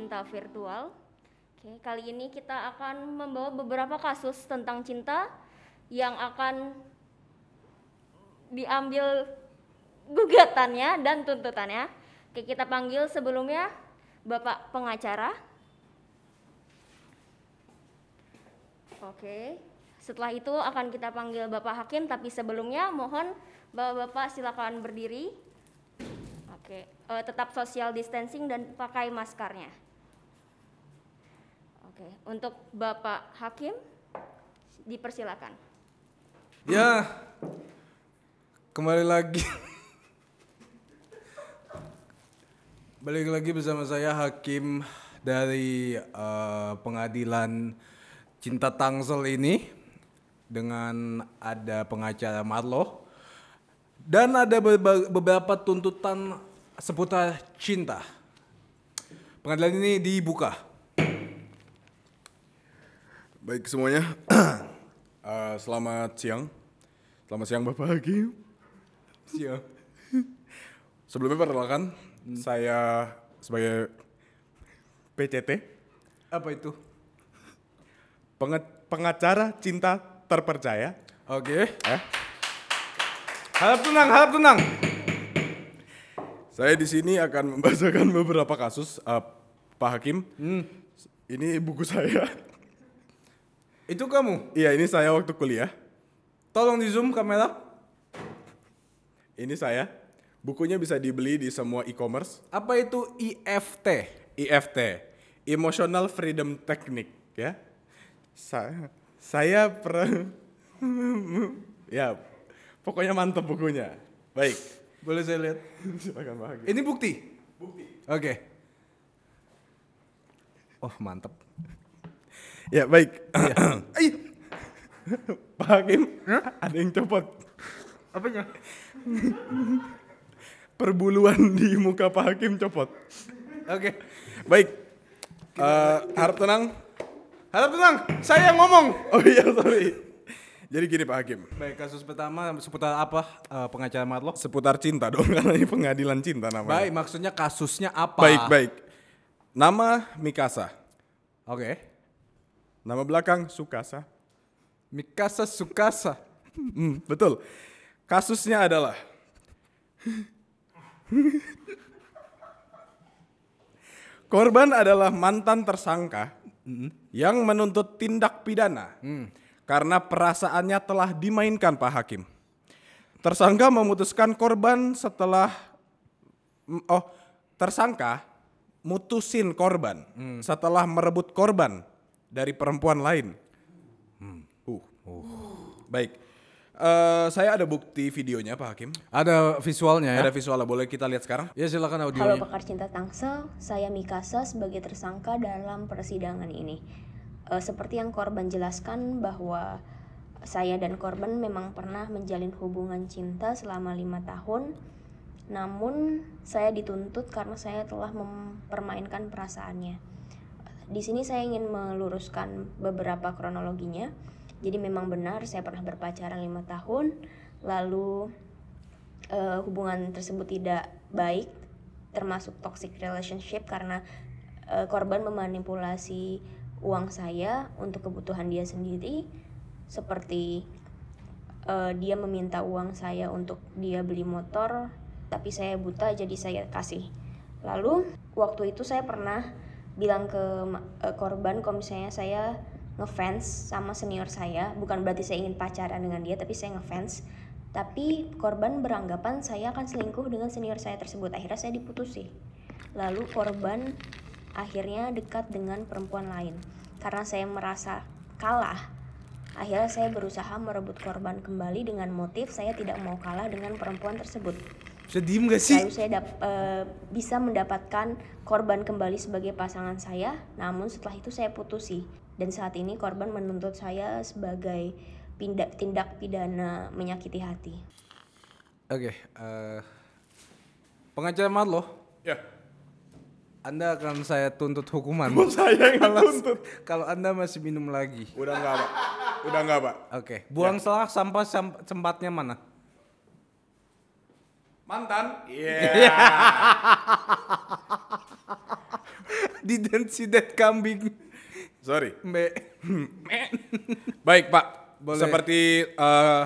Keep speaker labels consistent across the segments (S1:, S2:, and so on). S1: virtual. Oke, kali ini kita akan membawa beberapa kasus tentang cinta yang akan diambil gugatannya dan tuntutannya. Oke, kita panggil sebelumnya Bapak pengacara. Oke. Setelah itu akan kita panggil Bapak Hakim, tapi sebelumnya mohon Bapak-bapak silakan berdiri. Oke, eh, tetap social distancing dan pakai maskernya. Oke, untuk Bapak Hakim dipersilakan.
S2: Ya, kembali lagi. Balik lagi bersama saya Hakim dari eh, pengadilan Cinta Tangsel ini dengan ada pengacara Marlo dan ada berba- beberapa tuntutan seputar cinta. Pengadilan ini dibuka.
S3: Baik semuanya, Eh, selamat siang. Selamat siang Bapak Hakim.
S2: Siap.
S3: Sebelumnya perkenalkan, saya sebagai PCT,
S2: Apa itu?
S3: penge- pengacara cinta terpercaya.
S2: Oke.
S3: Eh,
S2: Harap tenang, harap tenang.
S3: saya di sini akan membacakan beberapa kasus eh, Pak Hakim. Ini buku saya.
S2: Itu kamu.
S3: Iya, ini saya waktu kuliah.
S2: Tolong di zoom kamera.
S3: Ini saya. Bukunya bisa dibeli di semua e-commerce.
S2: Apa itu IFT?
S3: IFT, Emotional Freedom Technique ya. Saya saya per ya pokoknya mantep bukunya. Baik.
S2: Boleh saya lihat?
S3: Silakan Pak Hakim.
S2: Ini bukti. Bukti. Oke. Oh mantep.
S3: Ya, baik. Ay. Pak Hakim, ada yang copot. Apanya? Perbuluan di muka Pak Hakim copot.
S2: Oke.
S3: Baik. Eh, harap tenang.
S2: Harap tenang. Saya yang ngomong.
S3: Oh iya, sorry. Jadi gini Pak Hakim.
S2: Baik kasus pertama seputar apa eh, pengacara Marlok?
S3: Seputar cinta dong, karena ini pengadilan cinta namanya.
S2: Baik maksudnya kasusnya apa?
S3: Baik, baik. Nama Mikasa.
S2: Oke.
S3: Nama belakang Sukasa.
S2: Mikasa Sukasa.
S3: Hmm, betul. Kasusnya adalah Korban adalah mantan tersangka yang menuntut tindak pidana karena perasaannya telah dimainkan Pak Hakim. Tersangka memutuskan korban setelah mm, oh, tersangka mutusin korban setelah merebut korban dari perempuan lain. Uh. Baik. Eh, saya ada bukti videonya Pak Hakim.
S2: Ada visualnya ya?
S3: Ada visualnya, boleh kita lihat sekarang?
S2: Ya silakan
S4: Halo
S2: audionya.
S4: pakar cinta Tangsel, saya Mikasa sebagai tersangka dalam persidangan ini. Eh, seperti yang korban jelaskan bahwa saya dan korban memang pernah menjalin hubungan cinta selama lima tahun. Namun saya dituntut karena saya telah mempermainkan perasaannya. Di sini saya ingin meluruskan beberapa kronologinya. Jadi memang benar saya pernah berpacaran lima tahun, lalu eh, hubungan tersebut tidak baik termasuk toxic relationship karena eh, korban memanipulasi uang saya untuk kebutuhan dia sendiri seperti eh, dia meminta uang saya untuk dia beli motor tapi saya buta jadi saya kasih lalu waktu itu saya pernah bilang ke ma- eh, korban kalau misalnya saya ngefans sama senior saya bukan berarti saya ingin pacaran dengan dia tapi saya ngefans tapi korban beranggapan saya akan selingkuh dengan senior saya tersebut akhirnya saya diputusi lalu korban akhirnya dekat dengan perempuan lain karena saya merasa kalah akhirnya saya berusaha merebut korban kembali dengan motif saya tidak mau kalah dengan perempuan tersebut
S2: Bisa diem gak sih?
S4: Lalu saya dap- eh, bisa mendapatkan korban kembali sebagai pasangan saya. Namun setelah itu saya putusi dan saat ini korban menuntut saya sebagai pindak tindak pidana menyakiti hati.
S2: Oke. eh, pengacara Marlo,
S3: Ya.
S2: Anda akan saya tuntut hukuman.
S3: Mau saya yang
S2: Kalau-
S3: tuntut.
S2: Kalau Anda masih minum lagi.
S3: Udah enggak, Pak. Udah enggak, Pak.
S2: Oke, buang salah sampah sam- sempatnya mana?
S3: Mantan. Iya.
S2: didn't see that kambing.
S3: Sorry.
S2: Mbak.
S3: Baik Pak,
S2: Boleh.
S3: seperti eh,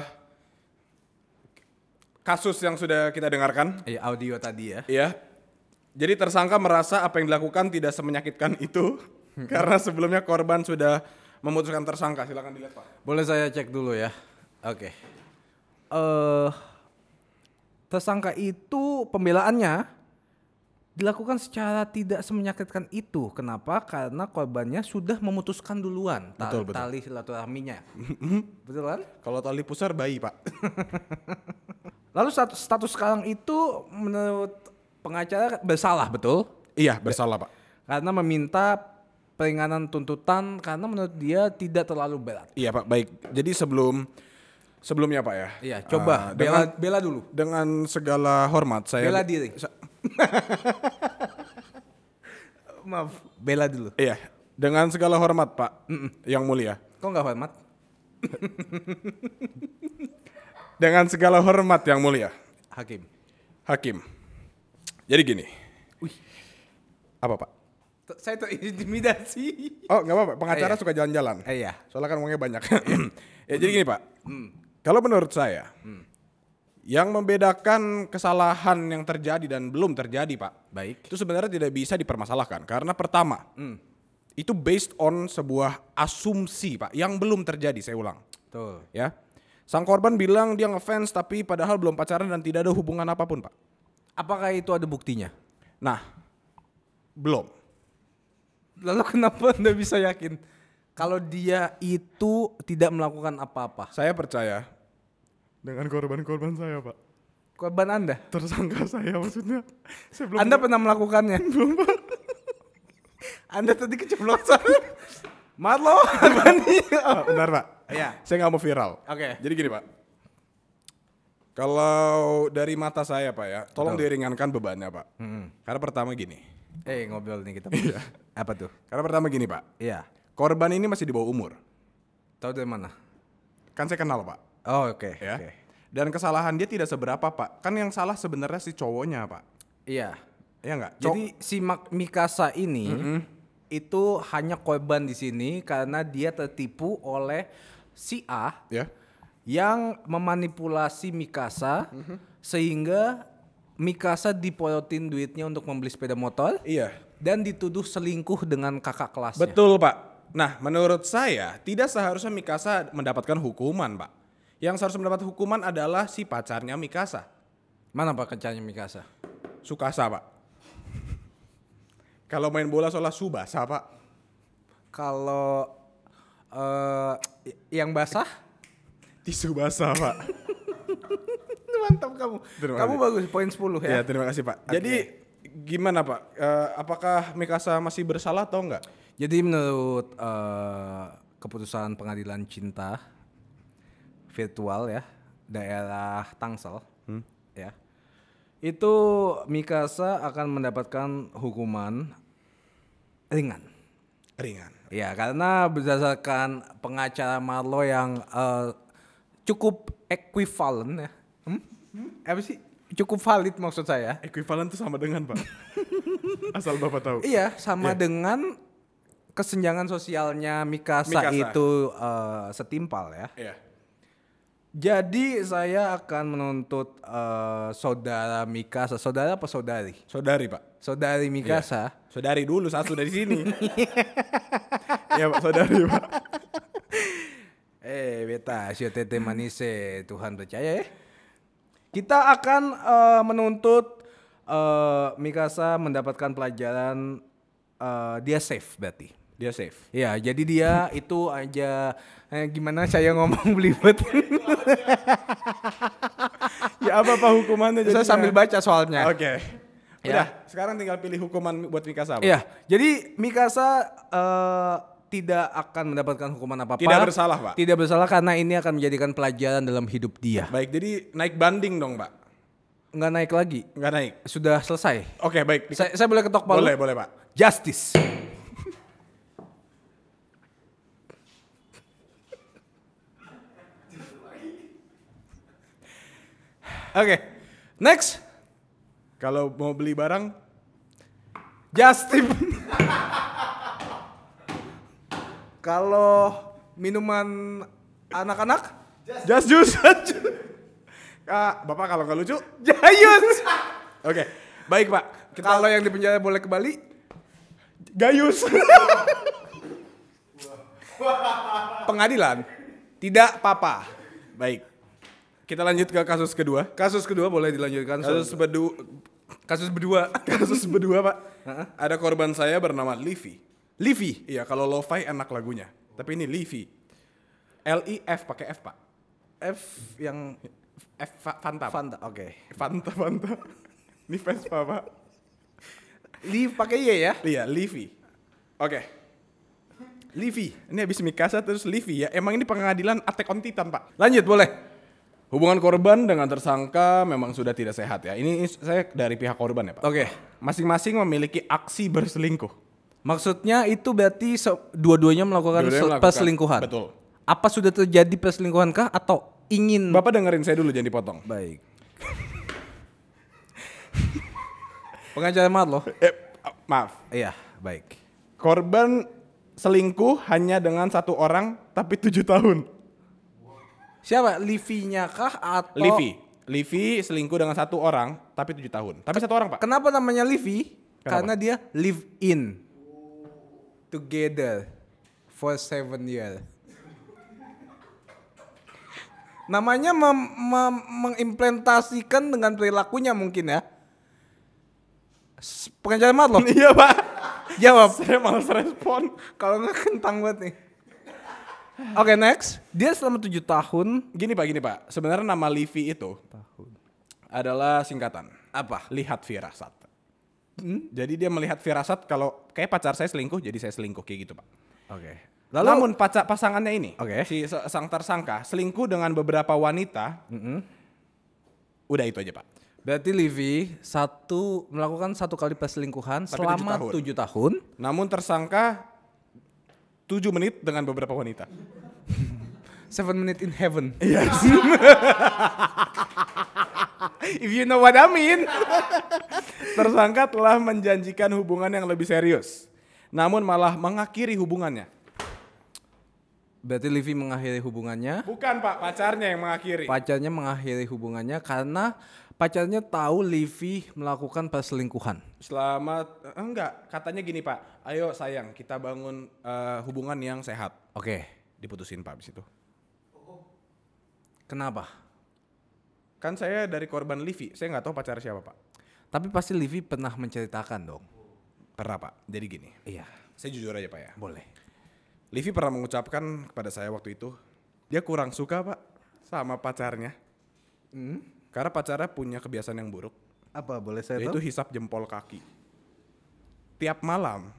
S3: kasus yang sudah kita dengarkan,
S2: Eh, audio tadi ya.
S3: ya. Jadi tersangka merasa apa yang dilakukan tidak semenyakitkan itu karena sebelumnya korban sudah memutuskan tersangka. Silakan dilihat Pak.
S2: Boleh saya cek dulu ya. Oke. Eh tersangka itu pembelaannya dilakukan secara tidak semenyakitkan itu. Kenapa? Karena korbannya sudah memutuskan duluan ta-
S3: Betul, betul.
S2: tali silaturahminya. betul kan?
S3: Kalau tali pusar bayi Pak.
S2: Lalu stat- status sekarang itu menurut pengacara bersalah, betul?
S3: iya bersalah Pak.
S2: Karena meminta peringanan tuntutan karena menurut dia tidak terlalu berat.
S3: Iya Pak, baik. Jadi sebelum sebelumnya Pak ya.
S2: Iya, coba bela,
S3: eh, dengan
S2: bela dulu.
S3: dengan segala hormat saya
S2: Bela diri. Maaf, bela dulu.
S3: Iya, dengan segala hormat Pak, yang mulia.
S2: Kok nggak hormat?
S3: Dengan segala hormat yang mulia,
S2: Hakim.
S3: Hakim. Jadi gini. Apa Pak?
S2: T- Saya terintimidasi.
S3: Oh nggak apa-apa, pengacara
S2: Iya.
S3: suka jalan-jalan.
S2: Eh, iya. Mm.
S3: Soalnya kan uangnya banyak. ya jadi gini Pak, kalau menurut saya, yang membedakan kesalahan yang terjadi dan belum terjadi Pak,
S2: Baik.
S3: itu sebenarnya tidak bisa dipermasalahkan. Karena pertama, hmm, itu based on sebuah asumsi Pak, yang belum terjadi, saya ulang.
S2: Tuh.
S3: ya. Sang korban bilang dia ngefans tapi padahal belum pacaran dan tidak ada hubungan apapun, Pak.
S2: Apakah itu ada buktinya?
S3: Nah, belum.
S2: Lalu kenapa Anda bisa yakin kalau dia itu tidak melakukan apa-apa?
S3: Saya percaya dengan korban-korban saya, Pak.
S2: Korban Anda?
S3: Tersangka saya maksudnya. Saya belum
S2: Anda pernah melakukannya? Belum, Anda tadi keceplosan. Maaf loh,
S3: Ah, benar, Pak.
S2: Iya.
S3: Saya nggak mau viral.
S2: Oke.
S3: Jadi gini, Pak. Kalau dari mata saya, Pak ya, tolong diringankan bebannya, Pak. Karena pertama gini.
S2: Eh, ngobrol nih kita. Apa tuh?
S3: Karena pertama gini, Pak.
S2: Iya.
S3: Korban ini masih di bawah umur.
S2: Tahu dari mana?
S3: Kan saya kenal, Pak.
S2: Oh, oke.
S3: ya.
S2: oke.
S3: Dan kesalahan dia tidak seberapa, Pak. Kan yang salah sebenarnya si cowoknya, Pak.
S2: Iya.
S3: Iya nggak?
S2: Jadi si Mak Mikasa ini itu hanya korban di sini karena dia tertipu oleh si A
S3: ya.
S2: yang memanipulasi Mikasa
S3: Mm-hmm.
S2: sehingga Mikasa diporotin duitnya untuk membeli sepeda motor
S3: Iya.
S2: dan dituduh selingkuh dengan kakak kelasnya.
S3: Betul, Pak. Nah, menurut saya tidak seharusnya Mikasa mendapatkan hukuman, Pak. Yang seharusnya mendapat hukuman adalah si pacarnya Mikasa.
S2: Mana pak kencannya Mikasa?
S3: Sukasa, Pak. Kalau main bola soalnya Subasa, Pak.
S2: Kalau eh, yang basah
S3: Tisubasa, Pak.
S2: mantap kamu.
S3: Terima
S2: kamu
S3: kasih.
S2: bagus poin 10 ya.
S3: ya, terima kasih, Pak. Jadi gimana, Pak? Eh, apakah Mikasa masih bersalah atau enggak?
S2: Jadi menurut eh, keputusan pengadilan cinta virtual ya daerah Tangsel ya itu Mikasa akan mendapatkan hukuman ringan
S3: Ringan.
S2: ya karena berdasarkan pengacara Marlo yang eh, cukup equivalent ya Hmm? apa sih cukup valid maksud saya
S3: Ekuivalen itu sama dengan, Pak. Asal Bapak tahu.
S2: Iya, sama dengan kesenjangan sosialnya Mikasa,
S3: Mikasa.
S2: itu eh, setimpal ya.
S3: Iya.
S2: Jadi saya akan menuntut eh, saudara Mikasa, saudara apa saudari?
S3: Saudari, Pak.
S2: Saudari Mikasa
S3: Saudari dulu saat sudah di sini. Iya, Pak, saudari, Pak.
S2: Eh, beta, sio tete manise, Tuhan percaya ya. Hmm. Kita akan eh, menuntut eh, Mikasa mendapatkan pelajaran eh, dia safe berarti. Dia safe. Ya, jadi dia itu aja eh, gimana saya ngomong belibet.
S3: Ya apa Pak hukumannya
S2: saya
S3: jadinya?
S2: sambil baca soalnya.
S3: Oke.
S2: Ya.
S3: Udah, sekarang tinggal pilih hukuman buat Mikasa, Pak.
S2: Iya, jadi Mikasa eh, tidak akan mendapatkan hukuman apa-apa.
S3: Tidak bersalah, Pak.
S2: Tidak bersalah karena ini akan menjadikan pelajaran dalam hidup dia.
S3: Baik, jadi naik banding dong, Pak.
S2: Nggak naik lagi.
S3: Nggak naik.
S2: Sudah selesai.
S3: Oke, baik. Di-
S2: Saya, saya boleh ketok palu?
S3: Boleh, boleh, Pak.
S2: Justice. Oke, next
S3: Kalau mau beli barang,
S2: Justin. Kalau minuman anak-anak?
S3: Just juice. Kak, Bapak kalau nggak lucu,
S2: Jayus.
S3: Oke, baik pak. Kita
S2: Kalau yang di penjara boleh ke Bali?
S3: gayus.
S2: Pengadilan. Tidak papa.
S3: baik. Kita lanjut ke kasus kedua.
S2: Kasus kedua boleh dilanjutkan. Kasus,
S3: Kasus berdua,
S2: kasus berdua.
S3: kasus berdua pak. Ada korban saya bernama Livy.
S2: Livi.
S3: Iya, kalau lo-fi enak lagunya. Tapi ini Livy. L I F pakai F pak.
S2: F yang
S3: F Fa- Fanta. Pak.
S2: Fanta. Oke.
S3: Fanta Fanta. Ini Vespa pak.
S2: Liv pakai Y ya.
S3: Iya, Livy. Oke. Livy. Ini habis Mikasa terus Livy ya. Emang ini pengadilan Attack on Titan pak.
S2: Lanjut boleh.
S3: Hubungan korban dengan tersangka memang sudah tidak sehat ya. Ini saya dari pihak korban ya Pak.
S2: Oke.
S3: Masing-masing memiliki aksi berselingkuh.
S2: Maksudnya itu berarti se- dua-duanya melakukan
S3: Dua-duanya
S2: se-
S3: melakukan.
S2: perselingkuhan.
S3: Betul.
S2: Apa sudah terjadi perselingkuhan kah atau ingin?
S3: Bapak dengerin saya dulu jangan dipotong.
S2: Baik. Pengacara maat loh.
S3: Eh, maaf.
S2: Iya, baik.
S3: Korban selingkuh hanya dengan satu orang tapi tujuh tahun.
S2: Oh. Siapa? Livi-nya kah atau
S3: Livi. Livi selingkuh dengan satu orang tapi tujuh tahun. Tapi satu orang Pak.
S2: Kenapa namanya Livi?
S3: Kenapa?
S2: Karena dia live in together for seven year. Namanya mem- mem- mengimplementasikan dengan perilakunya mungkin ya. S- Pengacara maat loh.
S3: iya Pak.
S2: Jawab.
S3: saya malas respon.
S2: Kalau nggak kentang banget nih. Oke next. Dia selama tujuh tahun
S3: Gini Pak, gini Pak. Sebenarnya nama Livi itu adalah singkatan.
S2: apa?
S3: lihat firasat. Jadi dia melihat firasat kalau kayak pacar saya selingkuh, jadi saya selingkuh kayak gitu pak.
S2: Oke.
S3: Lalu,
S2: Lalu
S3: Namun pacar pasangannya ini,
S2: Oke.
S3: si se- sang tersangka selingkuh dengan beberapa wanita. Udah itu aja pak.
S2: berarti Livi satu melakukan satu kali perselingkuhan
S3: Tapi tujuh
S2: selama
S3: tahun.
S2: tujuh tahun.
S3: Namun tersangka 7 menit dengan beberapa wanita.
S2: Seven minute in heaven.
S3: If you know what I mean. tersangka telah menjanjikan hubungan yang lebih serius. Namun malah mengakhiri hubungannya.
S2: Berarti Livi mengakhiri hubungannya,
S3: Bukan pak, pacarnya yang mengakhiri.
S2: pacarnya mengakhiri hubungannya karena pacarnya tahu Livi melakukan perselingkuhan.
S3: Selamat eh, enggak katanya gini pak ayo sayang kita bangun eh, hubungan yang sehat
S2: Oke,
S3: diputusin pak abis itu
S2: kenapa?
S3: kan saya dari korban Livi saya nggak tahu pacar siapa pak
S2: Tapi pasti Livi pernah menceritakan dong.
S3: pernah pak jadi gini
S2: Iya,
S3: saya jujur aja pak ya
S2: boleh.
S3: Livi pernah mengucapkan kepada saya waktu itu dia kurang suka pak sama pacarnya karena pacarnya punya kebiasaan yang buruk
S2: Apa boleh saya
S3: yaitu hisap jempol kaki tiap malam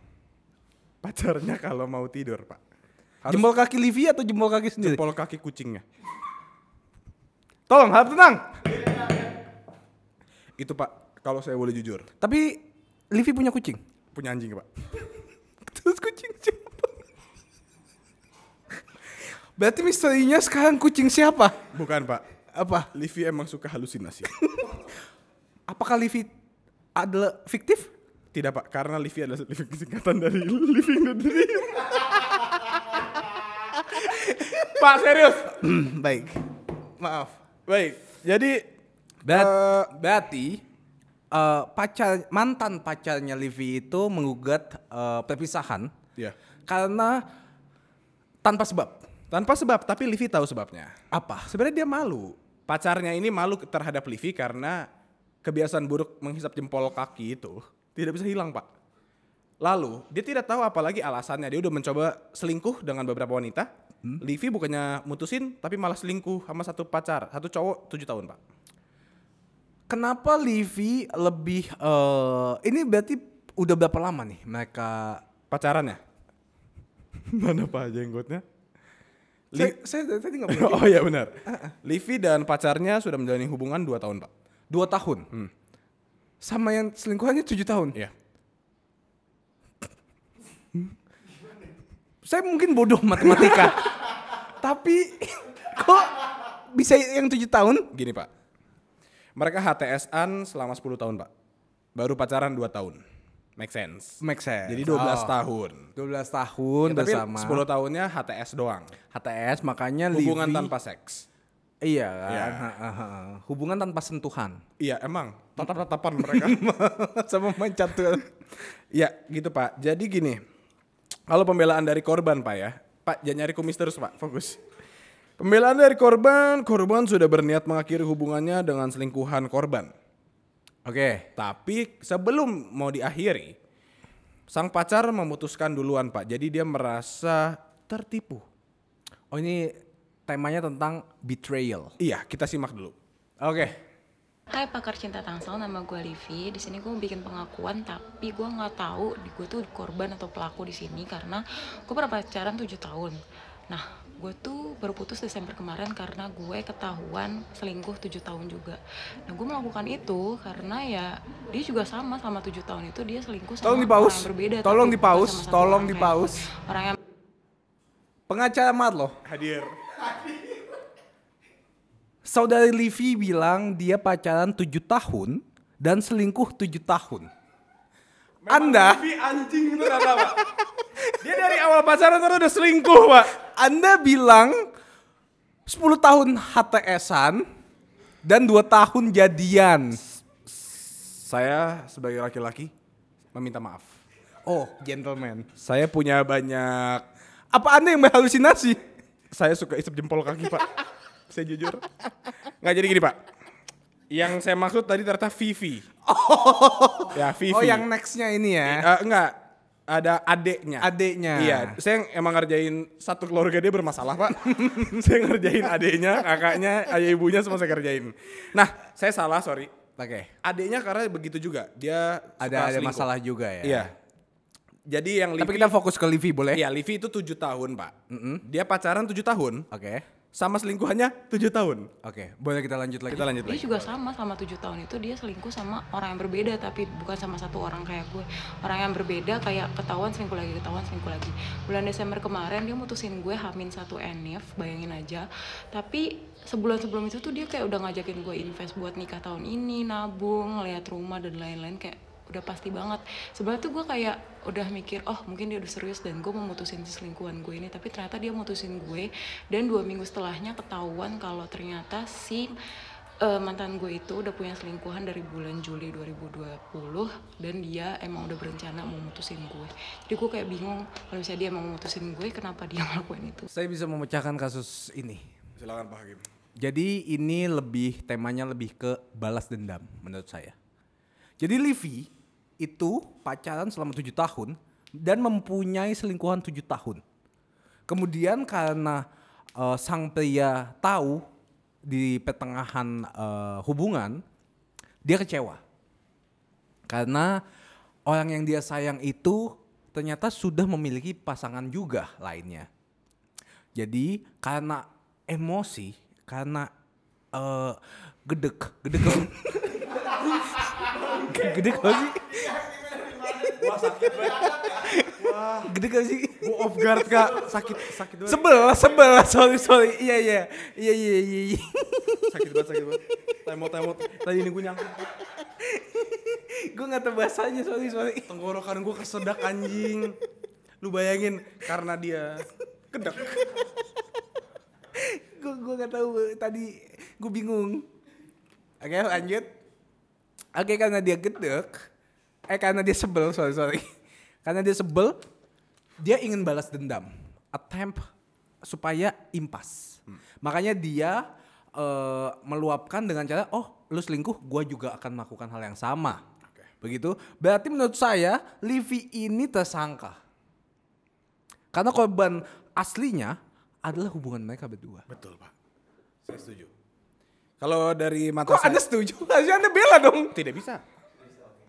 S3: pacarnya kalau mau tidur pak harus
S2: Jempol kaki Livi atau jempol kaki sendiri?
S3: jempol kaki kucingnya
S2: Tolong, harap tenang.
S3: itu pak kalau saya boleh jujur
S2: Tapi Livi punya kucing.
S3: punya anjing pak
S2: Terus kucing siapa? Berarti misterinya sekarang kucing siapa?
S3: bukan pak
S2: Apa?
S3: Livi emang suka halusinasi
S2: Apakah Livi adalah fiktif?
S3: tidak pak karena Livi adalah living singkatan dari living the dream pak serius
S2: Baik. Maaf.
S3: baik jadi
S2: Ber-
S3: eh,
S2: berarti eh, pacar mantan pacarnya Livi itu menggugat eh, perpisahan
S3: ya
S2: karena tanpa sebab.
S3: tanpa sebab tapi Livi tahu sebabnya
S2: Apa?
S3: sebenarnya dia malu pacarnya ini malu terhadap Livi karena kebiasaan buruk menghisap jempol kaki itu tidak bisa hilang pak lalu dia tidak tahu apalagi alasannya dia udah mencoba selingkuh dengan beberapa wanita Livi bukannya mutusin tapi malah selingkuh sama satu pacar satu cowok tujuh tahun pak
S2: Kenapa Livi lebih eh, ini berarti udah berapa lama nih mereka
S3: pacarannya mana pak jenggotnya
S2: Saya,
S3: Li-
S2: saya dari tadi nggak boleh.
S3: oh iya benar Livi dan pacarnya sudah menjalani hubungan dua tahun pak
S2: Dua tahun. Sama yang selingkuhannya tujuh tahun.
S3: iya
S2: Saya mungkin bodoh matematika. Tapi kok bisa yang tujuh tahun?
S3: Gini pak, mereka HTS-an selama 10 tahun pak, baru pacaran 2 tahun. Make sense.
S2: Make sense.
S3: Jadi 12
S2: Oh.
S3: tahun.
S2: 12 tahun
S3: Tapi kan
S2: bersama Kan
S3: 10 tahunnya HTS doang.
S2: HTS makanya
S3: Hubungan
S2: Livi-
S3: tanpa seks.
S2: Iya kan.
S3: Iya.
S2: Ha, ha, ha. Hubungan tanpa sentuhan.
S3: Iya, emang. Tatap-tatapan mereka.
S2: Sama mencat tuh.
S3: Ya gitu pak. Jadi gini, kalau pembelaan dari korban pak ya, pak jangan nyari kumis terus pak, fokus. Pembelaan dari korban, korban sudah berniat mengakhiri hubungannya dengan selingkuhan korban.
S2: Oke.
S3: Tapi sebelum mau diakhiri, sang pacar memutuskan duluan pak. Jadi dia merasa tertipu.
S2: Oh ini temanya tentang betrayal.
S3: Iya, kita simak dulu.
S2: Oke.
S5: Hai pakar cinta tangsel, nama gue Livi. Di sini gue mau bikin pengakuan, tapi gue nggak tahu di gue tuh korban atau pelaku di sini karena gue pernah pacaran 7 tahun. Nah, gue tuh baru putus Desember kemarin karena gue ketahuan selingkuh 7 tahun juga. Nah, gue melakukan itu karena ya dia juga sama selama 7 tahun itu dia selingkuh sama
S2: Tolong dipaus.
S5: orang yang berbeda. tapi
S2: Tolong
S5: bukan
S2: dipaus.
S5: sama satu
S2: Tolong
S5: orang yang-
S2: dipaus.
S5: Orang yang
S2: Pengacamat loh.
S3: Hadir.
S2: Saudari Livi bilang dia pacaran 7 tahun dan selingkuh 7 tahun. Anda,
S3: anjing itu pak. Dia dari awal pacaran tuh udah selingkuh pak.
S2: Anda bilang 10 tahun HTS-an dan 2 tahun jadian.
S3: Saya sebagai laki-laki meminta maaf.
S2: Oh, gentleman.
S3: Saya punya banyak.
S2: Apa Anda yang berhalusinasi?
S3: Saya suka isep jempol kaki pak. saya jujur. Nggak jadi gini pak. Yang saya maksud tadi ternyata Vivi. ya
S2: Oh,
S3: Vivi.
S2: yang next-nya ini ya.
S3: Eh, enggak. Ada adeknya.
S2: Adeknya.
S3: Iya. Saya yang emang ngerjain satu keluarga dia bermasalah pak. saya ngerjain adeknya, kakaknya, ayah ibunya semua saya kerjain. Nah, saya salah sorry.
S2: Oke.
S3: Adeknya karena begitu juga. Dia suka
S2: Ada ada
S3: selingkuh.
S2: masalah juga ya.
S3: Iya. Jadi yang
S2: Tapi
S3: Livi-
S2: kita ya? fokus ke Livi boleh?
S3: Iya, Livi itu 7 tahun, Pak. Dia pacaran 7 tahun
S2: Oke.
S3: sama selingkuhannya 7 tahun.
S2: Oke, boleh kita lanjut lagi.
S3: Kita lanjut
S5: Dia
S3: lagi.
S5: juga sama selama tujuh tahun itu dia selingkuh sama orang yang berbeda tapi bukan sama satu orang kayak gue. Orang yang berbeda kayak ketahuan selingkuh lagi, ketahuan selingkuh lagi. Bulan Desember kemarin dia mutusin gue hamin satu enif, bayangin aja. Tapi sebulan sebelum itu tuh dia kayak udah ngajakin gue invest buat nikah tahun ini, nabung, lihat rumah dan lain-lain kayak udah pasti banget sebenarnya tuh gue kayak udah mikir oh mungkin dia udah serius dan gue memutusin selingkuhan gue ini tapi ternyata dia mutusin gue dan dua minggu setelahnya ketahuan kalau ternyata si eh, mantan gue itu udah punya selingkuhan dari bulan Juli 2020 dan dia emang udah berencana mau mutusin gue jadi gue kayak bingung kalau misalnya dia mau mutusin gue kenapa dia ngelakuin itu
S2: Saya bisa memecahkan kasus ini.
S3: Silakan Pak Hakim.
S2: Jadi ini lebih temanya lebih ke balas dendam menurut saya. Jadi Livi itu pacaran selama tujuh tahun dan mempunyai selingkuhan tujuh tahun. Kemudian karena eh, sang pria tahu di pertengahan eh, hubungan, dia kecewa karena orang yang dia sayang itu ternyata sudah memiliki pasangan juga lainnya. Jadi karena emosi, karena eh gedek, gedek gedek apa sih? Gedek apa sih?
S3: Gue off guard, Kak. Sakit sakit banget.
S2: Sebel, sebel, sorry, sorry. Iya, iya, iya, iya, iya. iya.
S3: sakit banget, sakit banget. Temot, temot. Tadi ini gue nyangkut.
S2: Gue gak tau bahasanya, sorry, sorry.
S3: Tenggorokan gue kesedak anjing. Lu bayangin karena dia kedek.
S2: Gue gue gak tau tadi, gue bingung. Oke, lanjut. Oke, karena dia gedek. Eh, karena dia sebel, sorry, sorry. Karena dia sebel, dia ingin balas dendam. Attempt supaya impas. Makanya dia eh, meluapkan dengan cara, oh lu selingkuh, gua juga akan melakukan hal yang sama. Begitu. Berarti menurut saya, Livi ini tersangka. Karena korban aslinya adalah hubungan mereka berdua.
S3: Betul, Pak. Saya setuju. Kalau dari
S2: Kok
S3: mata saya
S2: anda setuju? Harusnya anda bela dong.
S3: tidak bisa.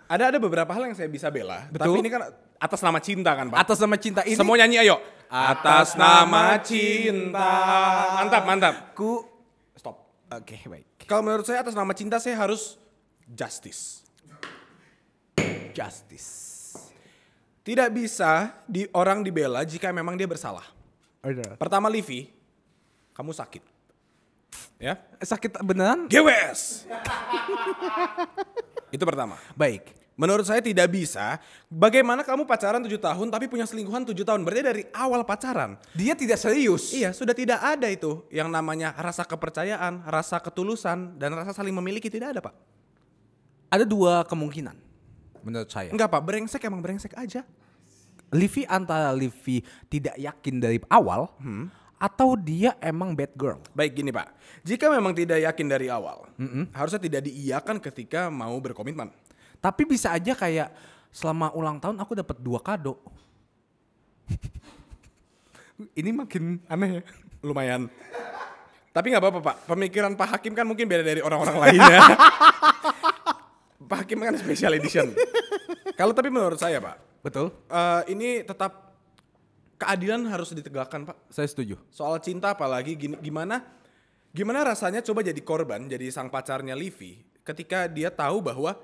S3: Ada ada beberapa hal yang saya bisa bela,
S2: Betul.
S3: tapi ini kan atas nama cinta kan, Pak?
S2: Atas nama cinta ini.
S3: Semua nyanyi ayo.
S2: Atas nama cinta.
S3: Mantap, mantap.
S2: Ku.
S3: Stop.
S2: Oke baik.
S3: Kalau menurut saya atas nama cinta saya harus justice.
S2: Justice.
S3: Tidak bisa di orang dibela jika memang dia bersalah. Pertama Livi, kamu sakit. Ya?
S2: Sakit beneran?
S3: GWS. Itu pertama.
S2: Baik.
S3: Menurut saya tidak bisa. Bagaimana kamu pacaran 7 tahun tapi punya selingkuhan 7 tahun? Berarti dari awal pacaran.
S2: Dia tidak serius.
S3: Iya, sudah tidak ada itu yang namanya rasa kepercayaan, rasa ketulusan dan rasa saling memiliki tidak ada, Pak.
S2: Ada dua kemungkinan menurut saya.
S3: Enggak, Pak. Brengsek emang brengsek aja.
S2: Livi antara Livi tidak yakin dari awal atau dia emang bad girl.
S3: Baik gini, Pak. Jika memang tidak yakin dari awal, harusnya tidak diiyakan ketika mau berkomitmen.
S2: Tapi bisa aja kayak selama ulang tahun aku dapat dua kado.
S3: Ini makin aneh ya. Lumayan. Tapi nggak apa-apa, Pak. Pemikiran Pak Hakim kan mungkin beda dari orang-orang lainnya. Pak Hakim kan special edition. Kalau tapi menurut saya, Pak,
S2: Betul?
S3: eh, ini tetap keadilan harus ditegakkan, Pak.
S2: Saya setuju.
S3: soal cinta apalagi gini- gimana gimana rasanya coba jadi korban jadi sang pacarnya Livi ketika dia tahu bahwa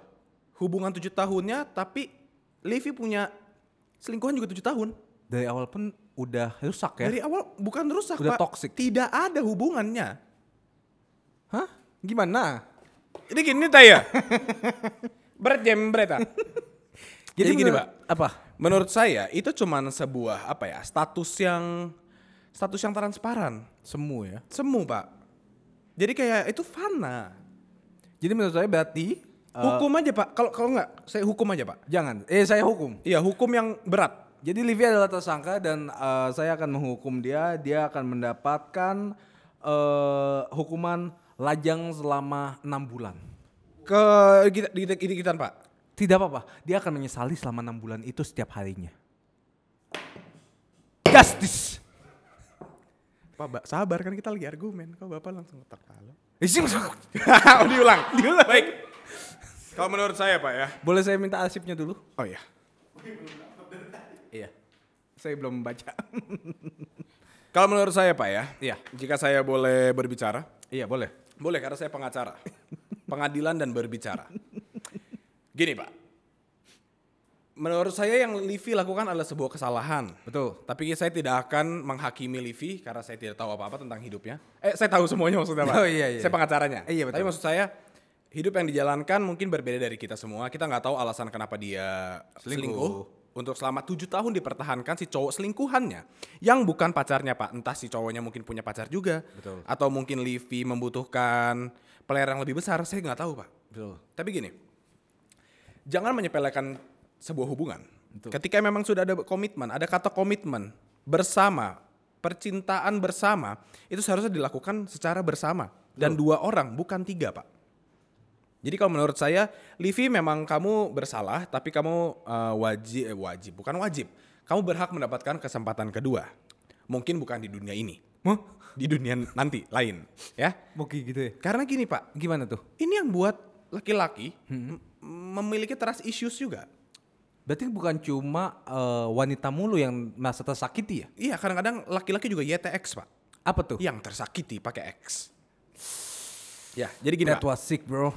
S3: hubungan tujuh tahunnya tapi Livi punya selingkuhan juga tujuh tahun
S2: Dari awal pun udah rusak ya.
S3: dari awal bukan rusak
S2: Udah
S3: Pak.
S2: toxic.
S3: tidak ada hubungannya
S2: Hah? Gimana?
S3: ini gini taya berat jembret ah. jadi, gini
S2: menurut-
S3: pak
S2: Apa?
S3: menurut saya itu cuman sebuah apa ya status yang status yang transparan
S2: Semu ya.
S3: semu pak jadi kayak itu fana
S2: Jadi menurut saya berarti eh,
S3: Hukum aja pak, kalau kalau nggak saya hukum aja pak.
S2: jangan. Eh saya hukum.
S3: Iya hukum yang berat.
S2: Jadi Livi adalah tersangka dan eh, saya akan menghukum dia. Dia akan mendapatkan eh, hukuman lajang selama enam bulan.
S3: Ke gigit- gigit- gigitan pak.
S2: Tidak apa-apa. Dia akan menyesali selama enam bulan itu setiap harinya. Justice.
S3: Pak Ba- sabar kan kita lagi argumen, kok bapak langsung tertawa.
S2: oh diulang. diulang.
S3: Baik. Kalau menurut saya pak ya.
S2: Boleh saya minta arsipnya dulu?
S3: Oh iya.
S2: Iya. Saya belum baca.
S3: Kalau menurut saya pak ya.
S2: Iya.
S3: Jika saya boleh berbicara.
S2: iya boleh.
S3: Boleh karena saya pengacara. Pengadilan dan berbicara. Gini pak. Menurut saya yang Livi lakukan adalah sebuah kesalahan.
S2: Betul.
S3: Tapi saya tidak akan menghakimi Livi karena saya tidak tahu apa-apa tentang hidupnya. Eh, saya tahu semuanya maksudnya, Pak.
S2: Oh, iya, iya.
S3: Saya pengacaranya.
S2: Iya, betul.
S3: Tapi maksud saya hidup yang dijalankan mungkin berbeda dari kita semua. Kita nggak tahu alasan kenapa dia selingkuh. Untuk selama tujuh tahun dipertahankan si cowok selingkuhannya yang bukan pacarnya pak, entah si cowoknya mungkin punya pacar juga,
S2: Betul.
S3: atau mungkin Livi membutuhkan player yang lebih besar. Saya nggak tahu pak.
S2: Betul.
S3: Tapi gini, jangan menyepelekan sebuah hubungan. Ketika memang sudah ada komitmen, ada kata komitmen bersama, percintaan bersama, itu seharusnya dilakukan secara bersama dan dua orang, bukan tiga, Pak. Jadi kalau menurut saya, Livi memang kamu bersalah, tapi kamu wajib, wajib, bukan wajib. Kamu berhak mendapatkan kesempatan kedua. Mungkin bukan di dunia ini,
S2: Mau?
S3: di dunia nanti lain, ya.
S2: Mau kayak gitu ya?
S3: Karena gini, Pak,
S2: Gimana tuh?
S3: ini yang buat laki-laki m- memiliki trust issues juga.
S2: Berarti bukan cuma eh, wanita mulu yang merasa tersakiti ya? Iya,
S3: Iya, kadang-kadang laki-laki juga YTX, Pak.
S2: Apa tuh?
S3: Yang tersakiti pakai X. Ya, jadi gini,
S2: That
S3: Pak.
S2: was sick bro.